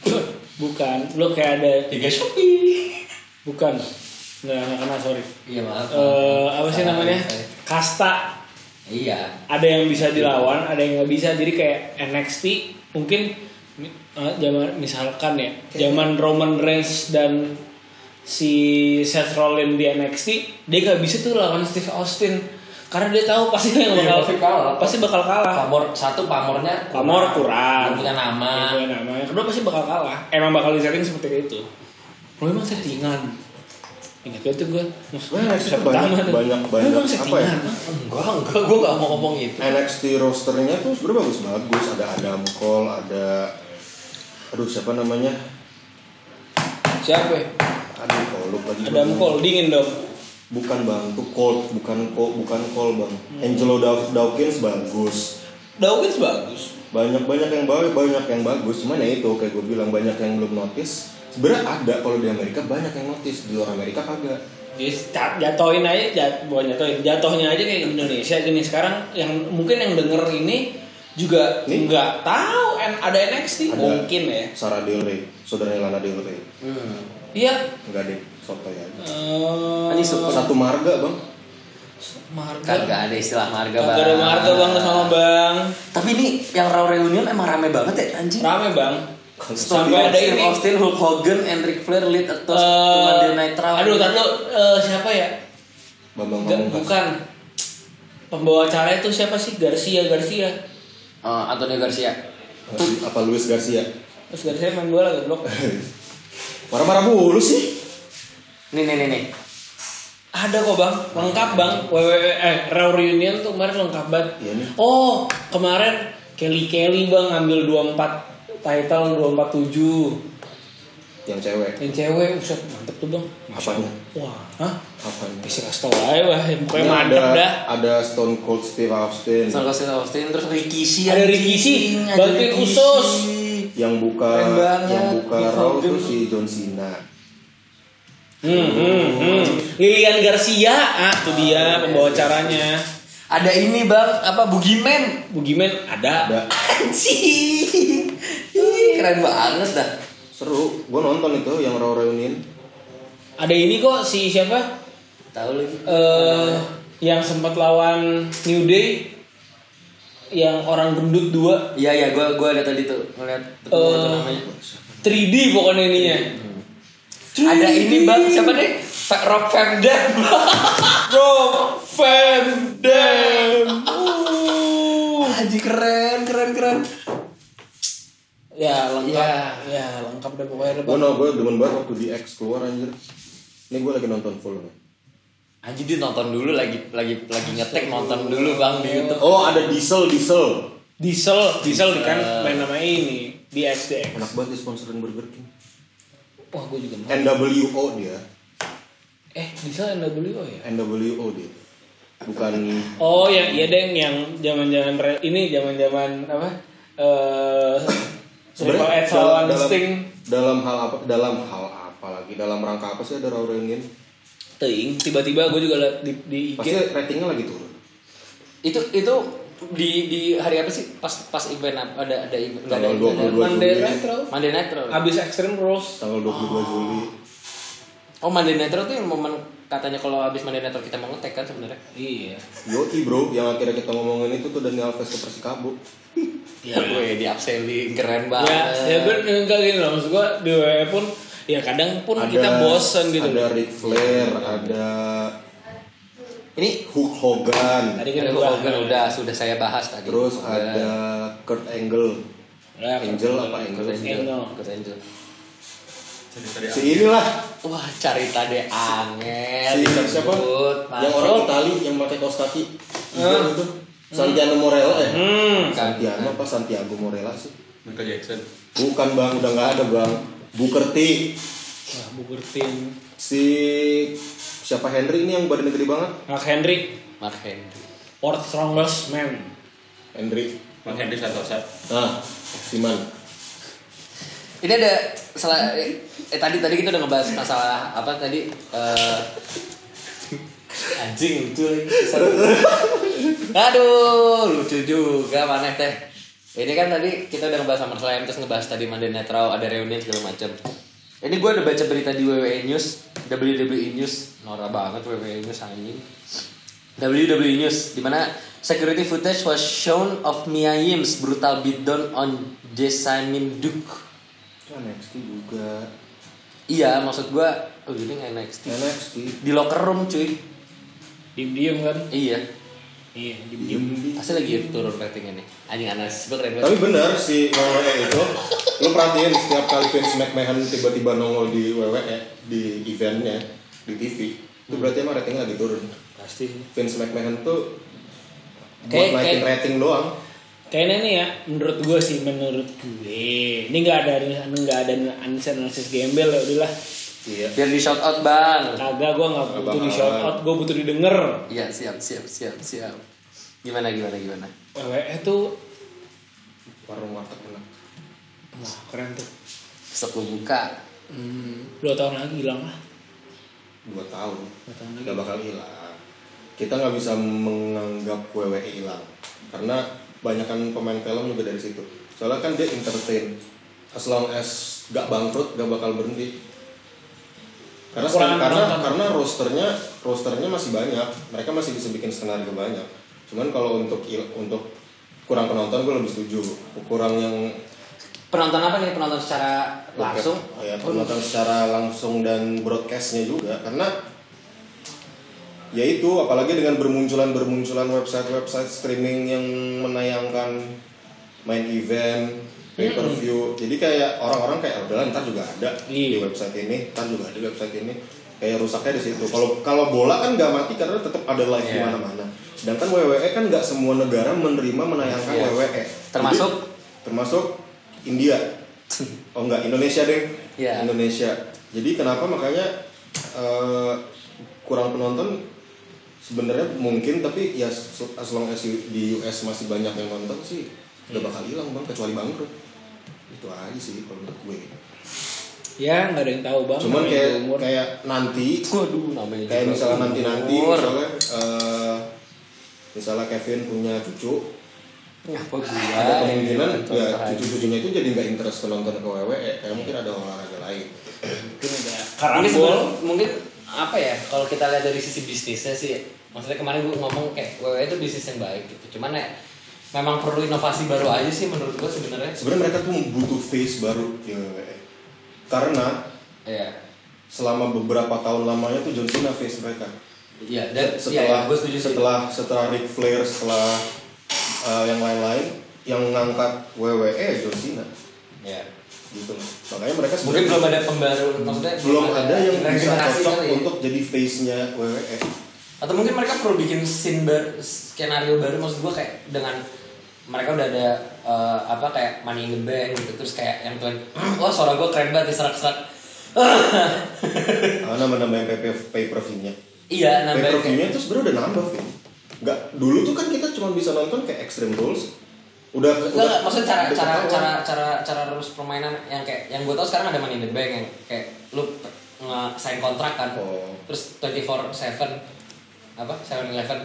Speaker 3: bukan, lo kayak ada
Speaker 1: liga Shopee
Speaker 3: bukan. Nggak, nggak kenal sorry.
Speaker 1: iya maaf
Speaker 3: Eh, apa sih
Speaker 1: Salah,
Speaker 3: namanya?
Speaker 1: saya.
Speaker 3: Kasta
Speaker 1: iya
Speaker 3: ada yang bisa dilawan, ada yang nggak bisa. Jadi kayak NXT mungkin eh, zaman misalkan ya, zaman Roman Reigns dan si Seth Rollins di NXT, dia nggak bisa tuh lawan Steve Austin karena dia tahu pasti yang
Speaker 1: Iya,
Speaker 3: bakal
Speaker 1: pasti kalah.
Speaker 3: pasti bakal kalah.
Speaker 1: pamor satu pamornya
Speaker 3: Pamor kurang.
Speaker 1: Belum punya nama
Speaker 3: Yang punya nama. Yang kedua pasti bakal kalah. Emang bakal disetting seperti itu. Lo emang settingan. Ingat gue tuh gue.
Speaker 2: Wah, itu banyak- banyak- banyak
Speaker 3: Emang
Speaker 2: apa ya?
Speaker 3: settingan.
Speaker 1: enggak enggak gue nggak mau ngomong itu
Speaker 2: NXT rosternya tuh sebenarnya bagus bagus ada Adam Cole ada aduh siapa namanya
Speaker 3: Siapa? ya?
Speaker 2: aduh Cole lupa lagi
Speaker 3: Adam
Speaker 2: namanya.
Speaker 3: Cole dingin dong.
Speaker 2: bukan bang itu Cole bukan Cole bukan Cole bang
Speaker 3: Hmm.
Speaker 2: Angelo Dav- Dawkins bagus
Speaker 3: Dawkins bagus.
Speaker 2: banyak banyak yang bagus banyak yang bagus cuman ya itu kayak gue bilang banyak yang belum notice sebenarnya ada kalau di Amerika banyak yang notice di luar Amerika kagak
Speaker 3: Jadi cat- jatohin aja, jat, bukan jatohin, jatohnya aja kayak Indonesia gini sekarang yang mungkin yang denger ini juga
Speaker 2: Ini?
Speaker 3: nggak tahu N- ada NXT
Speaker 2: Ada.
Speaker 3: mungkin ya.
Speaker 2: Sarah Del Rey saudaranya Lana Del Rey
Speaker 1: hmm.
Speaker 3: Iya.
Speaker 2: enggak deh soto ya
Speaker 3: Eh,
Speaker 2: Kan
Speaker 1: Tadi suka.
Speaker 2: satu marga bang
Speaker 3: marga.
Speaker 1: kagak Kan ada istilah marga
Speaker 3: Kagak ada marga bang sama bang.
Speaker 1: tapi ini yang raw reunion emang rame banget ya anjing
Speaker 3: Rame bang.
Speaker 1: Stone
Speaker 3: Sampai ada
Speaker 1: Steve
Speaker 3: ini.
Speaker 1: Austin, Hulk Hogan, and Ric Flair lead a toast to
Speaker 3: Eh,
Speaker 1: Monday Night Raw.
Speaker 3: aduh, tadi eh siapa ya?
Speaker 2: Bambang
Speaker 3: Gak,
Speaker 2: Pamungkas
Speaker 3: bukan. Pembawa acara itu siapa sih? Garcia, Garcia.
Speaker 1: Eh, Antonio Garcia.
Speaker 2: apa Luis Garcia
Speaker 3: Terus Garcia main bola goblok.
Speaker 2: marah-marah mulu sih
Speaker 1: Nih nih nih nih.
Speaker 3: Ada kok bang, lengkap bang. WWE eh, Raw Reunion tuh kemarin lengkap banget.
Speaker 2: Iya nih.
Speaker 3: Oh kemarin Kelly Kelly bang ngambil 24 title 247
Speaker 2: yang cewek
Speaker 3: yang cewek usah mantep tuh bang.
Speaker 2: apanya
Speaker 3: Wah, hah? Iya,
Speaker 2: apanya
Speaker 3: Bisa kasih tau aja lah, yang pokoknya
Speaker 2: Ini
Speaker 3: mantep
Speaker 2: ada,
Speaker 3: dah.
Speaker 2: ada Stone Cold Steve Austin
Speaker 1: Stone Cold Steve Austin terus Rikishi.
Speaker 3: Ada
Speaker 1: anjing.
Speaker 3: Rikishi,
Speaker 1: Ada
Speaker 3: bantuin
Speaker 1: Rikishi.
Speaker 3: Usos.
Speaker 2: yang buka
Speaker 1: Keren banget.
Speaker 2: yang buka
Speaker 1: Hulk
Speaker 2: Raw
Speaker 1: Hogan.
Speaker 2: tuh si John Cena
Speaker 3: Hmm, hmm, hmm. Lilian Garcia, ah iya. tuh dia pembawa acaranya.
Speaker 1: Ada ini bang apa Bugiman.
Speaker 3: Bugiman ada.
Speaker 2: ada
Speaker 1: Anjing. Ih, Keren banget dah.
Speaker 2: seru gue nonton itu yang Raw Reunion
Speaker 3: Ada ini kok si siapa?
Speaker 1: Tahu lagi.
Speaker 3: eh yang sempat lawan New Day yang orang gendut dua
Speaker 1: Iya iya gua gua ada tadi tuh ngeliat
Speaker 3: Eh,
Speaker 1: ketemu apa namanya.
Speaker 3: 3D pokoknya ininya.
Speaker 1: Ada ini bang siapa nih? Fa- Rob Van Dam.
Speaker 3: Rob Van Dam. Uh.
Speaker 1: Haji keren keren keren.
Speaker 3: Ya lengkap.
Speaker 1: Ya.
Speaker 3: Ya lengkap deh pokoknya deh,
Speaker 2: gue
Speaker 3: Bang.
Speaker 2: no gue demen banget waktu di X keluar anjir ini gue lagi nonton full nih
Speaker 1: Anjing dia nonton dulu lagi lagi lagi ngetek nonton dulu bang di YouTube.
Speaker 2: oh ada Diesel Diesel
Speaker 3: Diesel, Diesel kan main nama ini di SDX.
Speaker 2: enak banget sponsorin Burger King
Speaker 3: Wah, gue juga mau.
Speaker 2: NWO dia
Speaker 3: Eh, Diesel NWO ya?
Speaker 2: NWO dia bukan
Speaker 3: Oh ya, iya deng yang zaman-zaman re- ini zaman-zaman apa? Eh Triple H lawan Sting.
Speaker 2: dalam hal apa dalam hal apa lagi dalam rangka apa sih ada Raw Reunion
Speaker 3: Ting, tiba-tiba gue juga liat di, di IG.
Speaker 2: pasti ratingnya lagi turun
Speaker 1: itu itu di di hari apa sih pas pas event apa- ada ada event nggak ada
Speaker 2: tanggal
Speaker 1: event,
Speaker 2: 22
Speaker 3: Monday
Speaker 2: Juli
Speaker 3: Night Raw.
Speaker 1: ada- Monday Night Raw
Speaker 3: Abis Extreme Rules.
Speaker 2: tanggal 22 Juli
Speaker 1: oh Monday Night Raw tuh yang momen katanya kalau habis Monday Night Raw kita mau ngetek kan sebenarnya
Speaker 3: Iya.
Speaker 2: Yoi bro, yang akhirnya kita ngomongin itu tuh Daniel Alves ke Persikabo Iya.
Speaker 1: ya gue di upselling keren banget
Speaker 3: Ya, ya ber enggak gini loh maksud gue di WWE pun gitu. ya kadang pun kita bosen gitu.
Speaker 2: Ada Ric Flair, ada
Speaker 1: Ini
Speaker 2: Hulk Hogan.
Speaker 3: Tadi kan
Speaker 1: ada
Speaker 3: gua-
Speaker 1: Hogan udah sudah saya bahas tadi.
Speaker 2: Terus
Speaker 1: Hogan.
Speaker 2: ada Kurt Angle.
Speaker 3: Ya,
Speaker 2: Angel apa Angel?
Speaker 3: Angel.
Speaker 1: Kurt Angle.
Speaker 4: Cari-cari
Speaker 2: Si inilah
Speaker 1: Wah, cerita deh angel.
Speaker 2: si siapa?
Speaker 1: disebut.
Speaker 2: Yang
Speaker 1: Masuk.
Speaker 2: orang Itali yang pakai kaos kaki. Hijau itu. Santiano Morella ya?
Speaker 3: Hmm.
Speaker 2: Santiano apa Santiago Morella sih?
Speaker 4: Michael Jackson.
Speaker 2: Bukan bang, udah nggak ada bang. Booker T.
Speaker 3: Nah, Booker T.
Speaker 2: Si siapa Henry ini yang badannya gede banget?
Speaker 3: Mark Henry,
Speaker 1: Mark Henry.
Speaker 3: World Strongest Man.
Speaker 2: Henry.
Speaker 4: Mark Henry Santosa.
Speaker 2: Nah, Siman.
Speaker 1: Ini ada salah eh, eh, tadi tadi kita udah ngebahas masalah apa tadi eh anjing lucu lagi. Aduh, lucu juga maneh teh. Ini kan tadi kita udah ngebahas sama selain terus ngebahas tadi Monday Night Raw, ada reunion segala macam. Ini gue udah baca berita di WWE News, WWE News, norak banget WWE News anjing. WWE News, di mana security footage was shown of Mia Yim's brutal beatdown on Jessamine Duke.
Speaker 2: NXT juga.
Speaker 1: Iya, maksud gua oh ini NXT.
Speaker 2: NXT.
Speaker 1: Di locker room cuy.
Speaker 3: Diem-diem kan?
Speaker 1: Iya.
Speaker 3: Iya,
Speaker 2: Diem
Speaker 3: diem-diem.
Speaker 2: di.
Speaker 1: Pasti lagi turun ratingnya nih. Anjing analisis gua keren banget.
Speaker 2: Tapi benar si WWE itu Lo perhatiin setiap kali Vince McMahon tiba-tiba nongol di WWE Di eventnya, di TV Itu berarti emang ratingnya lagi turun
Speaker 3: Pasti.
Speaker 2: Vince McMahon tuh
Speaker 3: Kayak-
Speaker 2: Buat naikin
Speaker 3: kayak-
Speaker 2: rating doang
Speaker 3: Kayaknya nih ya, menurut gue sih, menurut gue ini nggak ada ini nggak ada analisis analisis gembel ya udahlah.
Speaker 2: Iya
Speaker 1: Biar di shout out, Bang.
Speaker 3: Kagak gue nggak
Speaker 2: Nggak
Speaker 3: butuh di
Speaker 2: bakalan.
Speaker 3: shout out, gue butuh didengar.
Speaker 1: Iya, siap, siap, siap, siap. Gimana gimana gimana?
Speaker 3: WWE E tuh,
Speaker 2: Warung warteg menang
Speaker 3: wah keren tuh.
Speaker 1: Sebelum buka.
Speaker 3: Hmm, dua tahun lagi hilang lah.
Speaker 2: 2 tahun
Speaker 3: Dua tahun lagi.
Speaker 2: Gak bakal hilang Kita nggak bisa menganggap WWE hilang Karena banyakan pemain film juga dari situ Soalnya kan dia entertain As long as gak bangkrut gak bakal berhenti karena
Speaker 3: Kekurangan
Speaker 2: karena
Speaker 3: penonton.
Speaker 2: karena rosternya rosternya masih banyak mereka masih bisa bikin skenario banyak cuman kalau untuk il- untuk kurang penonton gue lebih setuju kurang yang
Speaker 1: Penonton apa nih? Penonton secara langsung?
Speaker 2: Oh ya, penonton secara langsung dan broadcastnya juga karena ya itu apalagi dengan bermunculan bermunculan website website streaming yang menayangkan main event pay per
Speaker 1: Hmm.
Speaker 2: view jadi kayak orang-orang kayak "Ah, udahlah ntar juga ada di
Speaker 3: Iya.
Speaker 2: website ini ntar juga ada di website ini kayak rusaknya di situ kalau kalau bola kan nggak mati karena tetap ada live di
Speaker 1: Iya.
Speaker 2: mana-mana sedangkan WWE kan nggak semua negara menerima menayangkan
Speaker 1: Iya.
Speaker 2: WWE
Speaker 1: Termasuk?
Speaker 2: Jadi, termasuk India Oh enggak, Indonesia deh.
Speaker 1: Iya.
Speaker 2: Indonesia. Jadi kenapa makanya eh, kurang penonton sebenarnya mungkin tapi ya se- as long as you- di US masih banyak yang nonton sih udah
Speaker 1: Iya.
Speaker 2: bakal hilang bang kecuali bangkrut itu aja sih kalau menurut gue
Speaker 3: Ya nggak ada yang tahu bang.
Speaker 2: cuman
Speaker 3: namanya
Speaker 2: kayak
Speaker 3: umur.
Speaker 2: kayak nanti
Speaker 1: Waduh, namanya
Speaker 2: kayak
Speaker 1: juga
Speaker 2: misalnya nanti nanti
Speaker 1: umur.
Speaker 2: misalnya eh, misalnya Kevin punya cucu
Speaker 1: Apa gua? ini
Speaker 2: ada kemungkinan
Speaker 1: Iya, penonton
Speaker 2: ya
Speaker 1: terakhir.
Speaker 2: cucu-cucunya itu jadi nggak interest ke nonton ke WWE kayak mungkin ada olahraga lain
Speaker 3: mungkin ada
Speaker 1: Mungkin
Speaker 3: karambol.
Speaker 1: sebelum- mungkin apa ya kalau kita lihat dari sisi bisnisnya sih maksudnya kemarin gue ngomong kayak WWE itu bisnis yang baik gitu cuman ya memang perlu inovasi baru aja sih menurut gue sebenarnya
Speaker 2: sebenarnya mereka tuh butuh face baru di WWE karena
Speaker 1: ya
Speaker 2: selama beberapa tahun lamanya tuh John Cena face mereka
Speaker 1: ya dan
Speaker 2: setelah
Speaker 1: ya, gue setuju sih.
Speaker 2: setelah setelah Ric Flair setelah uh, yang lain-lain yang ngangkat WWE John Cena
Speaker 1: ya
Speaker 2: gitu loh makanya mereka
Speaker 1: mungkin
Speaker 2: sebenarnya
Speaker 1: belum ada pembaru maksudnya
Speaker 2: belum ada yang bisa
Speaker 1: regenerasi
Speaker 2: cocok
Speaker 1: kali ya.
Speaker 2: untuk jadi face nya WWE
Speaker 1: atau mungkin mereka perlu bikin scene baru skenario baru maksud gue kayak dengan mereka udah ada eh, apa kayak money in the bank gitu terus kayak yang tuh oh suara gue keren banget diserak-serak
Speaker 2: karena menambahin Ah, pay, pay per view nya
Speaker 1: iya
Speaker 2: pay per
Speaker 1: nambahin
Speaker 2: view nya tuh sebenarnya udah nambah Vin. nggak dulu tuh kan kita cuma bisa nonton kayak Extreme Rules udah
Speaker 1: Enggak, enggak, maksudnya cara
Speaker 2: udah
Speaker 1: cara
Speaker 2: ketahuan.
Speaker 1: cara cara cara rules permainan yang kayak yang gue tau sekarang ada money in the bank yang kayak lu nge sign kontrak kan.
Speaker 2: Oh.
Speaker 1: Terus 24/7 apa? 7-Eleven.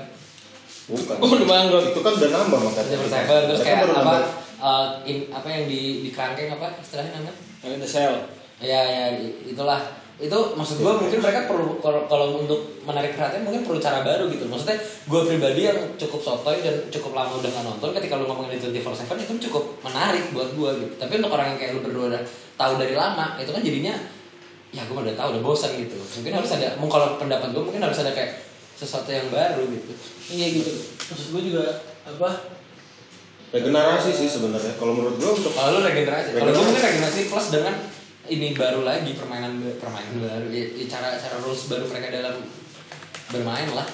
Speaker 2: Bukan.
Speaker 3: Oh, udah bangkrut.
Speaker 2: Itu kan udah nambah makanya.
Speaker 1: 7-Eleven terus
Speaker 2: Mereka
Speaker 1: kayak
Speaker 2: baru
Speaker 1: apa?
Speaker 2: nambah.
Speaker 1: uh, in, apa yang di di kerangkeng apa istilahnya namanya?
Speaker 3: Yang ada sel.
Speaker 1: Ya ya i- itulah. Itu maksud gue mungkin mereka perlu kalau kalau untuk menarik perhatian mungkin perlu cara baru gitu. Maksudnya gue pribadi yang cukup sotoy dan cukup lama udah nggak nonton ketika lu ngomongin di 24/7 itu cukup menarik buat gue gitu. Tapi untuk orang yang kayak lu berdua udah tahu dari lama itu kan jadinya ya gue udah tahu udah bosan gitu. Mungkin harus ada mungkin kalau pendapat gue mungkin harus ada kayak sesuatu yang baru gitu
Speaker 3: Iya gitu. Maksud gue juga apa?
Speaker 2: regenerasi ya sih sebenarnya kalau menurut gue untuk
Speaker 1: kalau Oh, lu regenerasi kalau gue
Speaker 2: Regenerasi.
Speaker 1: mungkin regenerasi plus dengan ini baru lagi permainan ba- permainan baru ya, ya cara cara rules baru mereka dalam bermain lah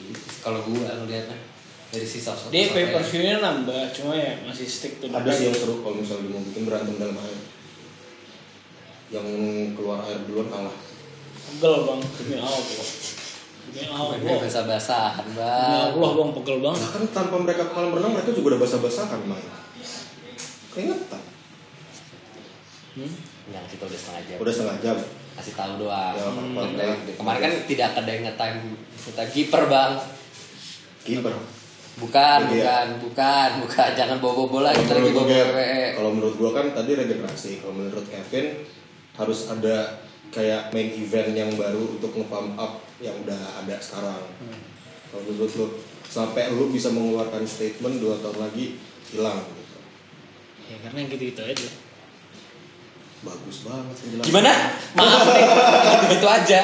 Speaker 1: Gitu. kalau gue ngeliatnya dari sisa satu
Speaker 3: Dia pay per view-nya nambah, cuma ya masih stick tuh.
Speaker 2: ada sih yang seru kalau misalnya mau bikin berantem dalam air yang keluar air duluan kalah
Speaker 3: Pegel bang, demi Allah. Demi Allah.
Speaker 1: ini
Speaker 3: Demi
Speaker 1: bahasa basahan bang
Speaker 3: Allah bang, pegel bang.
Speaker 2: bahkan kan tanpa mereka kolam renang mereka juga udah basah-basahan main keingetan
Speaker 1: yang kita udah setengah jam
Speaker 2: udah setengah jam
Speaker 1: kasih tahu doang
Speaker 2: Ya,
Speaker 1: Hmm.
Speaker 2: apa-apa.
Speaker 1: kemarin kan tidak ada yang ngetime kita kiper bang
Speaker 2: kiper
Speaker 1: bukan
Speaker 2: Iya.
Speaker 1: bukan bukan bukan jangan bawa bawa bola kita lagi
Speaker 2: Kalau
Speaker 1: bawa
Speaker 2: menurut
Speaker 1: bawa
Speaker 2: gue- kalau menurut gua kan tadi regenerasi kalau menurut Kevin harus ada kayak main event yang baru untuk nge-pump up yang udah ada sekarang
Speaker 1: Hmm.
Speaker 2: kalau menurut lu sampai lu bisa mengeluarkan statement dua tahun lagi hilang gitu.
Speaker 3: Ya karena yang gitu-gitu aja.
Speaker 2: bagus banget penjelasan
Speaker 1: gimana maaf nih gitu aja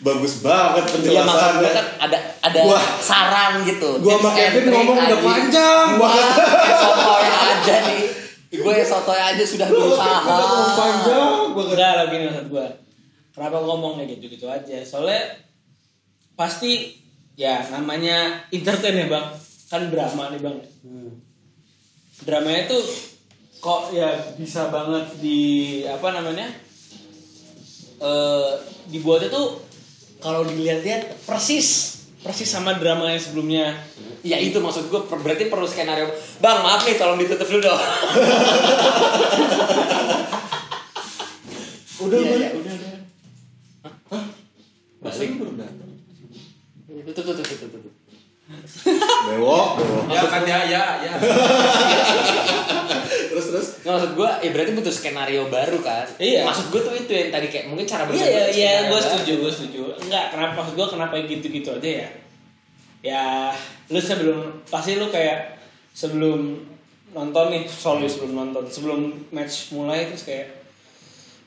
Speaker 2: bagus banget
Speaker 1: Iya maksud
Speaker 2: penjelasannya
Speaker 1: gue kan ada ada
Speaker 2: Wah.
Speaker 1: saran gitu.
Speaker 2: Gua sama
Speaker 1: Tips and
Speaker 2: Kevin
Speaker 1: trick
Speaker 2: ngomong udah
Speaker 1: aja.
Speaker 2: panjang
Speaker 1: Gua
Speaker 2: banget.
Speaker 1: sotoy aja nih. Gue sotoy aja sudah
Speaker 2: Lu kayak
Speaker 1: berusaha.
Speaker 2: udah ngomong panjang banget.
Speaker 3: Enggak lah gini maksud gue. Kenapa ngomongnya gitu-gitu aja? Soalnya pasti ya namanya entertain ya bang. Kan drama nih bang. Dramanya tuh kok ya bisa banget di apa namanya? Eh dibuatnya tuh
Speaker 1: Kalau dilihat-lihat persis.
Speaker 3: persis sama drama yang sebelumnya.
Speaker 1: Ya itu maksud gue per- berarti perlu skenario. Bang maaf nih tolong ditutup dulu dong.
Speaker 2: udah
Speaker 3: Iya,
Speaker 2: Bang.
Speaker 3: iya, udah, udah.
Speaker 2: Masa lu baru datang?
Speaker 1: Tutup tutup tutup tutup.
Speaker 2: bewok bewok.
Speaker 4: Ya kan ya ya ya.
Speaker 2: terus terus
Speaker 1: Nggak, maksud gue ya berarti butuh skenario baru kan.
Speaker 3: Iya.
Speaker 1: Maksud gue tuh itu yang tadi kayak mungkin cara
Speaker 3: Iya
Speaker 1: berbuat
Speaker 3: iya iya,
Speaker 1: skenario
Speaker 2: ya.
Speaker 3: gue
Speaker 1: baru.
Speaker 3: setuju gue setuju. Enggak kenapa maksud gue kenapa gitu-gitu aja ya? Ya lu sebelum pasti lu kayak sebelum nonton nih sorry sebelum nonton sebelum match mulai terus kayak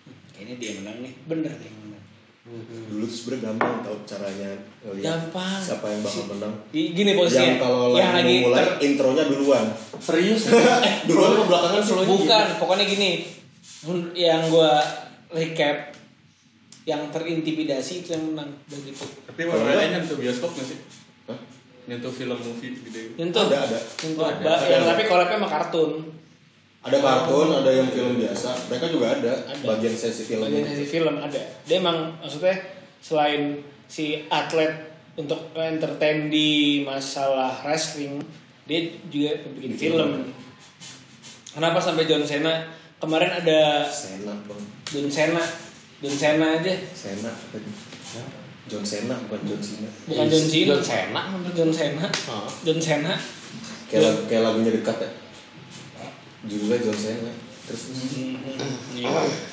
Speaker 3: "Hmm, kayaknya dia menang nih bener dia yang menang.
Speaker 2: dulu tuh sebenernya gampang tau caranya ngeliat
Speaker 3: Gampang.
Speaker 2: siapa yang bakal menang
Speaker 3: Di- Gini
Speaker 2: yang
Speaker 3: posisinya
Speaker 2: kalau
Speaker 3: yang
Speaker 2: lagi
Speaker 3: lagi
Speaker 2: mau mulai
Speaker 3: ter- Eh,
Speaker 2: intronya duluan
Speaker 1: Serius.
Speaker 2: duluan ke belakangan selalu
Speaker 3: Bukan, pokoknya gini. Hun- Yang gua recap yang terintimidasi itu yang menang gitu. begitu.
Speaker 4: Tapi warnanya nyentuh bioskop nggak sih? Nyentuh film movie gitu.
Speaker 3: Nyentuh.
Speaker 2: Ada, ada.
Speaker 3: Nyentuh
Speaker 4: Ada,
Speaker 3: ba-
Speaker 2: ada.
Speaker 3: yang tapi collab-nya sama kartun.
Speaker 2: ada kartun ada yang film biasa mereka juga ada, bagian sesi film
Speaker 3: Bagian sesi film ada. Dia emang maksudnya selain si atlet untuk entertain di masalah wrestling, dia juga bikin film. Kenapa sampai John Cena kemarin ada
Speaker 2: Sena bang
Speaker 3: John Cena, John Cena aja
Speaker 2: Sena John Sena bukan John Cena
Speaker 3: bukan John Cena
Speaker 1: John Cena.
Speaker 3: John Cena
Speaker 1: Hah?
Speaker 3: John Cena
Speaker 2: kayak lagu- kayak lagunya dekat ya judulnya John Sena terus
Speaker 3: Hmm.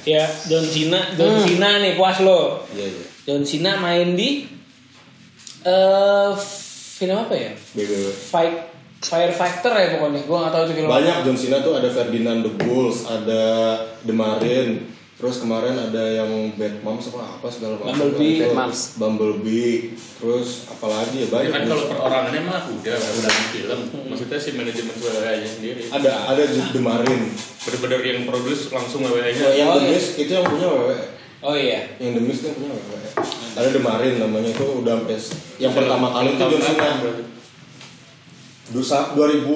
Speaker 3: ya John Cena John Cena nih puas lo
Speaker 2: iya iya
Speaker 3: John Cena main di eh film apa ya
Speaker 2: BBW
Speaker 3: Fight Firefighter ya pokoknya gue gak tahu itu film
Speaker 2: banyak John Cena tuh ada Ferdinand the Bulls ada The Marin terus kemarin ada yang Bad Moms apa apa segala macam
Speaker 3: Bumblebee.
Speaker 2: Itu,
Speaker 1: Bad Moms.
Speaker 2: Bumblebee terus apalagi ya
Speaker 4: Ya
Speaker 2: banyak
Speaker 4: kan kalau perorangannya mah udah udah di film. Maksudnya si manajemen suaranya sendiri.
Speaker 2: ada ada Ju- The Marin
Speaker 4: Bener-bener yang produce langsung
Speaker 2: Kalau
Speaker 4: WW-nya.
Speaker 2: yang The
Speaker 3: iya.
Speaker 2: Miz, itu yang punya WWE
Speaker 3: oh iya
Speaker 2: yang The Miz itu yang punya WWE ada The Marin namanya itu udah sampai s- yang pertama kali itu John Cena Dulu saat 2000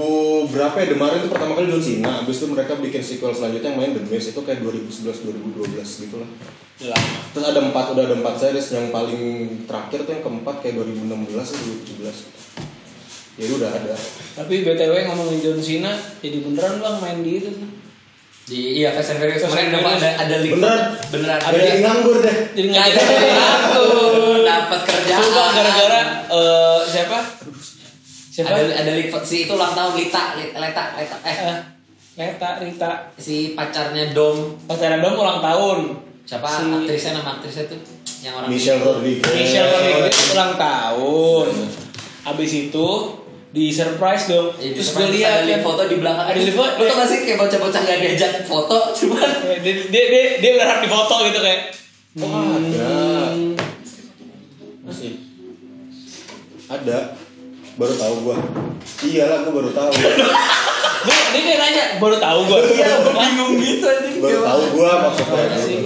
Speaker 2: berapa ya The Marin itu pertama kali John Cena abis itu mereka bikin sequel selanjutnya yang main The Miz itu kayak 2011 2012 gitu lah
Speaker 1: Iya.
Speaker 3: udah lama
Speaker 2: Terus ada empat, udah ada empat series yang paling terakhir tuh yang keempat kayak 2016 atau 2017. Jadi Ya, udah ada.
Speaker 3: tapi btw ngomongin John Cena jadi beneran bang main di itu
Speaker 1: Di iya Fast and Furious
Speaker 3: Fast
Speaker 1: kemarin
Speaker 3: and
Speaker 1: dapat
Speaker 3: Furious.
Speaker 1: ada ada link.
Speaker 2: Beneran?
Speaker 1: Beneran ada.
Speaker 2: Jadi nganggur deh.
Speaker 3: jadi
Speaker 1: Nggak Ya, ah. ada yang ngaku. dapat kerjaan.
Speaker 3: Sumpah, gara-gara eh, siapa siapa
Speaker 1: ada ada link si itu ulang tahun Lita, Lita, Leta, Leta. Eh,
Speaker 3: Eh, Leta Rita
Speaker 1: si pacarnya Dom.
Speaker 3: pacaran dong ulang tahun
Speaker 1: Siapa
Speaker 3: Si
Speaker 1: aktrisnya nama aktrisnya tuh yang orang
Speaker 2: Michelle Rodriguez.
Speaker 3: Michelle
Speaker 1: Eh.
Speaker 3: Rodriguez ulang tahun abis itu di surprise dong
Speaker 1: Iya,
Speaker 3: terus
Speaker 1: terus
Speaker 3: kan. gue
Speaker 1: ada
Speaker 3: lihat
Speaker 1: link foto di belakang
Speaker 3: Ada link foto.
Speaker 1: Lu tau gak sih kayak bocah-bocah gak diajak foto cuman
Speaker 3: dia dia dia, dia berharap di foto gitu kayak
Speaker 2: Oh, ada.
Speaker 3: hmm,
Speaker 2: Masih. Ada. Baru tahu gua. Iyalah gua baru tahu.
Speaker 3: Gue dia kayak nanya, baru tahu gue.
Speaker 1: Iya, gue bingung gitu anjing.
Speaker 2: baru tahu gua maksudnya.
Speaker 3: Apa sih?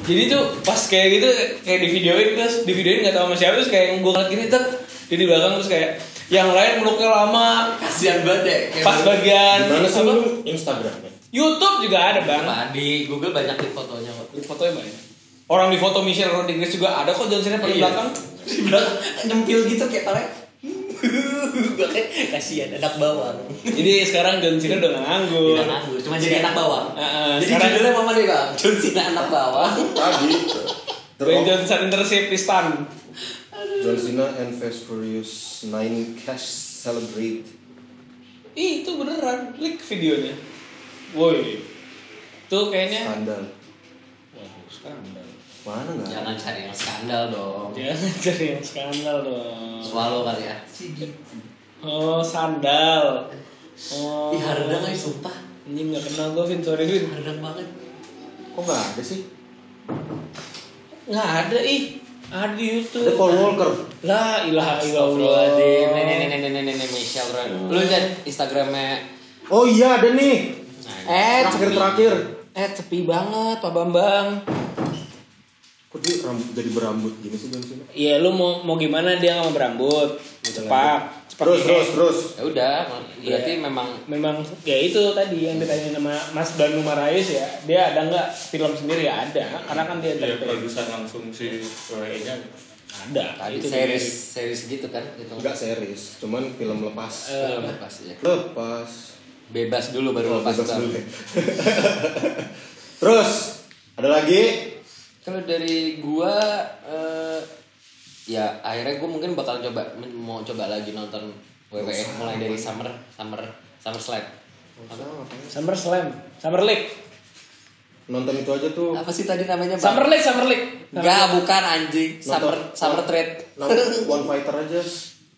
Speaker 3: Jadi tuh pas kayak gitu kayak di videoin terus di videoin nggak tahu sama siapa terus kayak gue ngeliat gini tuh dia di belakang terus kayak yang lain meluknya lama
Speaker 4: Kasian banget ya. kayak
Speaker 3: pas
Speaker 4: baru-
Speaker 3: bagian
Speaker 2: Gimana sih
Speaker 3: apa,
Speaker 2: lu Instagramnya?
Speaker 3: YouTube juga ada bang.
Speaker 1: Nah, di Google banyak di fotonya kok.
Speaker 3: Di fotonya banyak. Orang di foto Michelle Rodriguez juga ada kok John Cena paling
Speaker 1: Iya.
Speaker 3: belakang.
Speaker 1: Di belakang nyempil gitu kayak tarik. Gue kayak kasihan anak bawang.
Speaker 3: Jadi sekarang John Cena udah nggak nganggur.
Speaker 1: Tidak nganggur, cuma jadi anak bawang.
Speaker 3: Heeh,
Speaker 1: jadi
Speaker 3: sekarang-
Speaker 1: judulnya mama dia bang, John Cena anak bawang.
Speaker 2: Tadi. The
Speaker 3: Dwayne
Speaker 2: Rock,
Speaker 3: Johnson intercept di stand.
Speaker 2: John Cena and Fast Furious 9 Cash Celebrate.
Speaker 3: Ih itu beneran, klik videonya. Woi, tuh kayaknya.
Speaker 2: Skandal.
Speaker 3: Waduh, skandal.
Speaker 2: Mana nggak? ada?
Speaker 1: Jangan cari yang skandal dong.
Speaker 3: Jangan cari yang skandal dong.
Speaker 1: Swallow kali ya.
Speaker 3: Oh sandal. Oh.
Speaker 1: Ih hardang aja sumpah.
Speaker 3: Ini nggak kenal gue Vin, sorry Vin.
Speaker 1: Hardang banget.
Speaker 2: Kok nggak ada sih?
Speaker 3: Nggak ada ih. Ada di
Speaker 2: Ada
Speaker 3: YouTube.
Speaker 2: Paul Walker.
Speaker 3: Lah ilaha illallah.
Speaker 1: Astagfirullahaladzim. Nih nih nih nih nih nih nih Michelle Ron. Lu lihat Instagramnya.
Speaker 2: Oh iya ada nih.
Speaker 1: Eh
Speaker 2: Terakhir terakhir.
Speaker 1: Eh sepi banget Pak Bambang.
Speaker 3: Bambang.
Speaker 2: Kok dia rambut jadi berambut gini sih John Cena?
Speaker 3: Iya lu mau mau gimana dia nggak mau berambut. Cepak. Cepak
Speaker 2: Terus
Speaker 3: dikit.
Speaker 2: terus terus.
Speaker 1: Ya udah, berarti memang
Speaker 3: Memang ya itu tadi yang ditanya sama Mas Banu Marayus ya. Dia ada nggak film sendiri ya ada. Karena kan dia
Speaker 4: Iya,
Speaker 3: ada.
Speaker 4: produser langsung si WE-nya.
Speaker 3: Ada.
Speaker 1: tadi
Speaker 3: Itu
Speaker 1: series
Speaker 3: dia.
Speaker 1: series gitu kan gitu.
Speaker 2: Nah, Enggak series, cuman film lepas.
Speaker 1: Belum lepas ya.
Speaker 2: Lepas.
Speaker 1: Bebas dulu baru
Speaker 2: Oh,
Speaker 1: lepas.
Speaker 2: bebas
Speaker 1: Bang.
Speaker 2: dulu ya. terus ada lagi.
Speaker 1: Kalau dari gua eh, ya akhirnya gua mungkin bakal coba men- mau coba lagi nonton WWF mulai dari summer summer summer slide.
Speaker 3: Summer Slam. Summer League.
Speaker 2: Nonton itu aja tuh.
Speaker 1: Apa sih tadi namanya Bang?
Speaker 3: Summer League, Summer League.
Speaker 1: Enggak, bukan anjing. Summer
Speaker 2: Nonton-
Speaker 1: summer trade.
Speaker 2: Nonton One Fighter aja.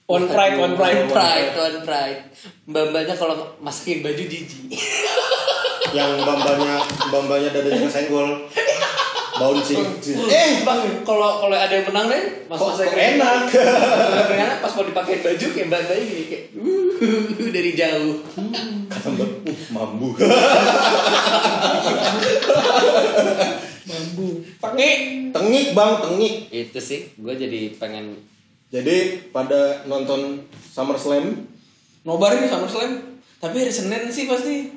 Speaker 3: On Pride, on Pride.
Speaker 1: On pride, on pride. Mbak-mbaknya kalau masukin baju jijik.
Speaker 2: Yang bambanya bambanya dadanya kesenggol. Bouncing. Eh,
Speaker 1: bang, kalau kalau ada yang menang deh, mas
Speaker 2: kok,
Speaker 1: mas
Speaker 2: kok enak.
Speaker 1: Ternyata pas mau dipakai baju kayak mbak mbaknya gini kayak "Wuh," dari jauh.
Speaker 2: Kata Mbak, uh, mambu.
Speaker 3: Bambu. Eh, Tangi.
Speaker 2: tengik bang, tengik.
Speaker 1: Itu sih, gue jadi pengen
Speaker 2: Jadi pada nonton SummerSlam
Speaker 3: Nobar nih SummerSlam. Tapi hari Senin sih pasti.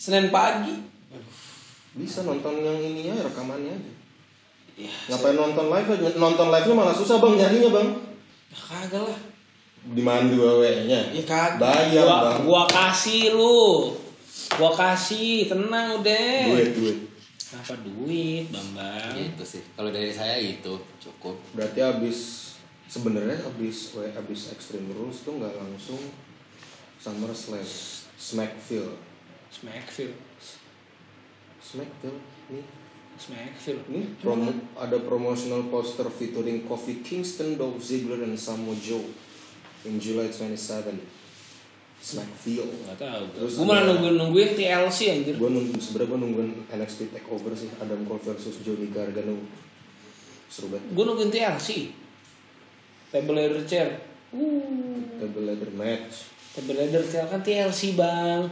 Speaker 3: Senin pagi.
Speaker 2: bisa nonton yang ini ya rekamannya aja.
Speaker 3: Iya,
Speaker 2: Ngapain nonton live aja? Nonton live-nya malah susah bang nyarinya bang.
Speaker 3: Ya kagak lah.
Speaker 2: Di mana nya
Speaker 3: Ya kagak.
Speaker 2: Bayar
Speaker 3: gua,
Speaker 2: Iya, bang.
Speaker 3: gua kasih lu. Gua kasih, tenang udah.
Speaker 2: Duit duit.
Speaker 3: Apa duit, Bambang?
Speaker 1: itu Gitu sih. Kalau dari saya itu cukup.
Speaker 2: Berarti abis sebenarnya abis we- abis Extreme Rules tuh nggak langsung Summer Slash Smackville.
Speaker 3: Smackville.
Speaker 2: Smackville nih
Speaker 3: Smackville.
Speaker 2: ini promo, ada promotional poster featuring Kofi Kingston, Dolph Ziggler, dan Samoa Joe in July 27. Smackville.
Speaker 3: Gak tau.
Speaker 2: Terus
Speaker 3: Gua malah
Speaker 2: ada-
Speaker 3: nungguin-nungguin TLC anjir.
Speaker 2: gue nunggu sebenarnya gue nungguin NXT Takeover sih Adam Cole versus Johnny Gargano seru banget
Speaker 3: Gua nungguin TLC. Table ladder chair. Uh,
Speaker 2: table ladder match
Speaker 3: table ladder chair kan TLC, Bang.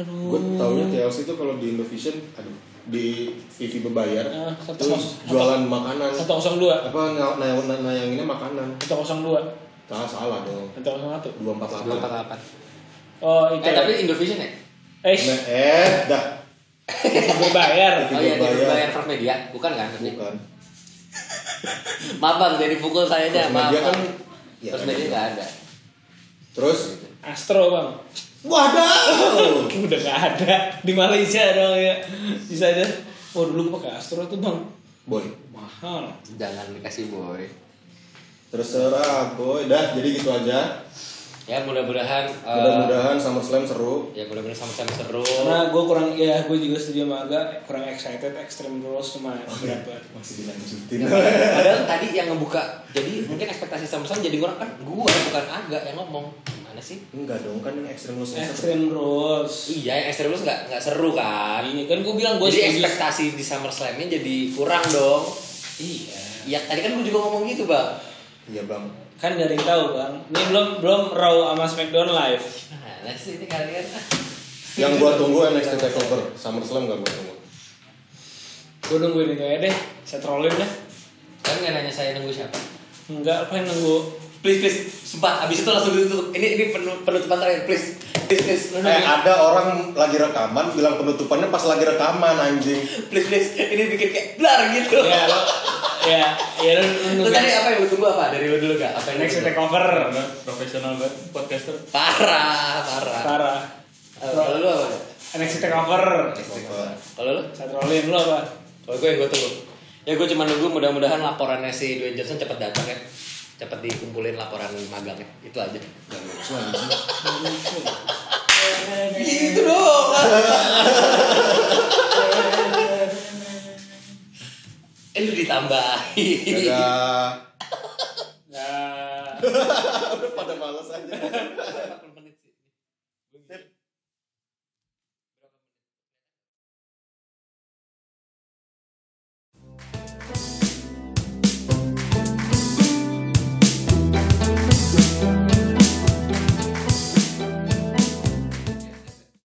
Speaker 3: Aduh.
Speaker 2: gue taunya TLC itu kalau di Indovision aduh di TV berbayar
Speaker 3: Ah, satu-
Speaker 2: terus
Speaker 3: satu-
Speaker 2: jualan makanan
Speaker 3: 102.
Speaker 2: apa nay- nay- nay- nayanginnya makanan
Speaker 3: 102.
Speaker 2: salah salah dong
Speaker 3: 101.
Speaker 2: dua empat delapan
Speaker 3: Oh, itu.
Speaker 1: Eh
Speaker 3: ya.
Speaker 1: tapi Indovision ya?
Speaker 3: eh,
Speaker 2: eh dah
Speaker 3: berbayar.
Speaker 1: Oh
Speaker 2: Tidak
Speaker 1: iya, dia
Speaker 2: bayar.
Speaker 1: berbayar first media, bukan kan?
Speaker 2: bukan
Speaker 1: Maaf bang, jadi pukul saya aja.
Speaker 2: First
Speaker 1: Maaf.
Speaker 2: Media
Speaker 1: Bang.
Speaker 2: kan- ya,
Speaker 1: First
Speaker 2: ada.
Speaker 1: media nggak ada.
Speaker 2: terus
Speaker 3: Astro, Bang.
Speaker 2: wadah
Speaker 3: Udah gak ada di Malaysia dong ya. Bisa aja. Oh, dulu gue pakai Astro tuh, Bang.
Speaker 2: boy
Speaker 3: Mahal.
Speaker 1: Jangan dikasih boy.
Speaker 2: terserah boy dah jadi gitu aja
Speaker 1: Ya mudah-mudahan. eh,
Speaker 2: mudah-mudahan SummerSlam seru
Speaker 1: ya mudah-mudahan sama-sama seru.
Speaker 3: Karena gue kurang ya gue juga setuju sama agak kurang excited extreme rules cuma berapa.
Speaker 2: masih dilanjutin
Speaker 1: Padahal tadi yang ngebuka, jadi mungkin ekspektasi sama-sama jadi orang kan gua bukan agak yang ngomong. Mana sih?
Speaker 2: Enggak dong, kan yang ekstrem lo
Speaker 3: Iya.
Speaker 2: seru.
Speaker 3: Extreme rules.
Speaker 1: Iya, yang extra rules nggak nggak seru kan?
Speaker 3: Iya kan gue bilang gue
Speaker 1: Jadi
Speaker 3: setuju.
Speaker 1: ekspektasi di Summer Slam-nya jadi kurang dong. Ya,
Speaker 3: Iya.
Speaker 1: Iya, tadi kan gue juga ngomong gitu, Bang.
Speaker 2: Iya bang,
Speaker 3: Kan dari tahu bang. Ini belum belum Raw sama SmackDown live.
Speaker 1: Mana sih ini kalian?
Speaker 2: Yang gua tunggu NXT Takeover SummerSlam gak gua tunggu.
Speaker 3: Gue nungguin itu ya deh. Saya trollin deh.
Speaker 1: Kan nggak nanya saya nunggu siapa?
Speaker 3: Enggak, pengen nunggu.
Speaker 1: Please please, sumpah. Abis itu langsung ditutup. Ini ini penu- penutupan terakhir. Please please please. Lu
Speaker 2: Eh
Speaker 1: nunggu.
Speaker 2: ada orang lagi rekaman bilang penutupannya pas lagi rekaman anjing.
Speaker 1: Please please. Ini bikin kayak blar gitu.
Speaker 3: Ya lo, ya ya lo
Speaker 1: Lu
Speaker 3: nunggu.
Speaker 1: tadi apa yang lu tunggu apa? Dari lu dulu gak? Apa yang lu
Speaker 3: Next
Speaker 1: tunggu?
Speaker 3: take over.
Speaker 4: Karena profesional banget podcaster.
Speaker 1: Parah, parah.
Speaker 3: Parah.
Speaker 1: Eh, Kalau lu apa?
Speaker 3: NXT takeover.
Speaker 1: Kalau lu?
Speaker 3: Saya trollin lo apa?
Speaker 1: Kalau gue yang gue tunggu. Ya gue cuma nunggu mudah-mudahan laporannya si Dwayne Johnson cepat datang ya. Cepat dikumpulin laporan magangnya. Itu aja. Itu dong. eh lu ditambahin.
Speaker 2: Ada
Speaker 3: Nah,
Speaker 2: pada males aja.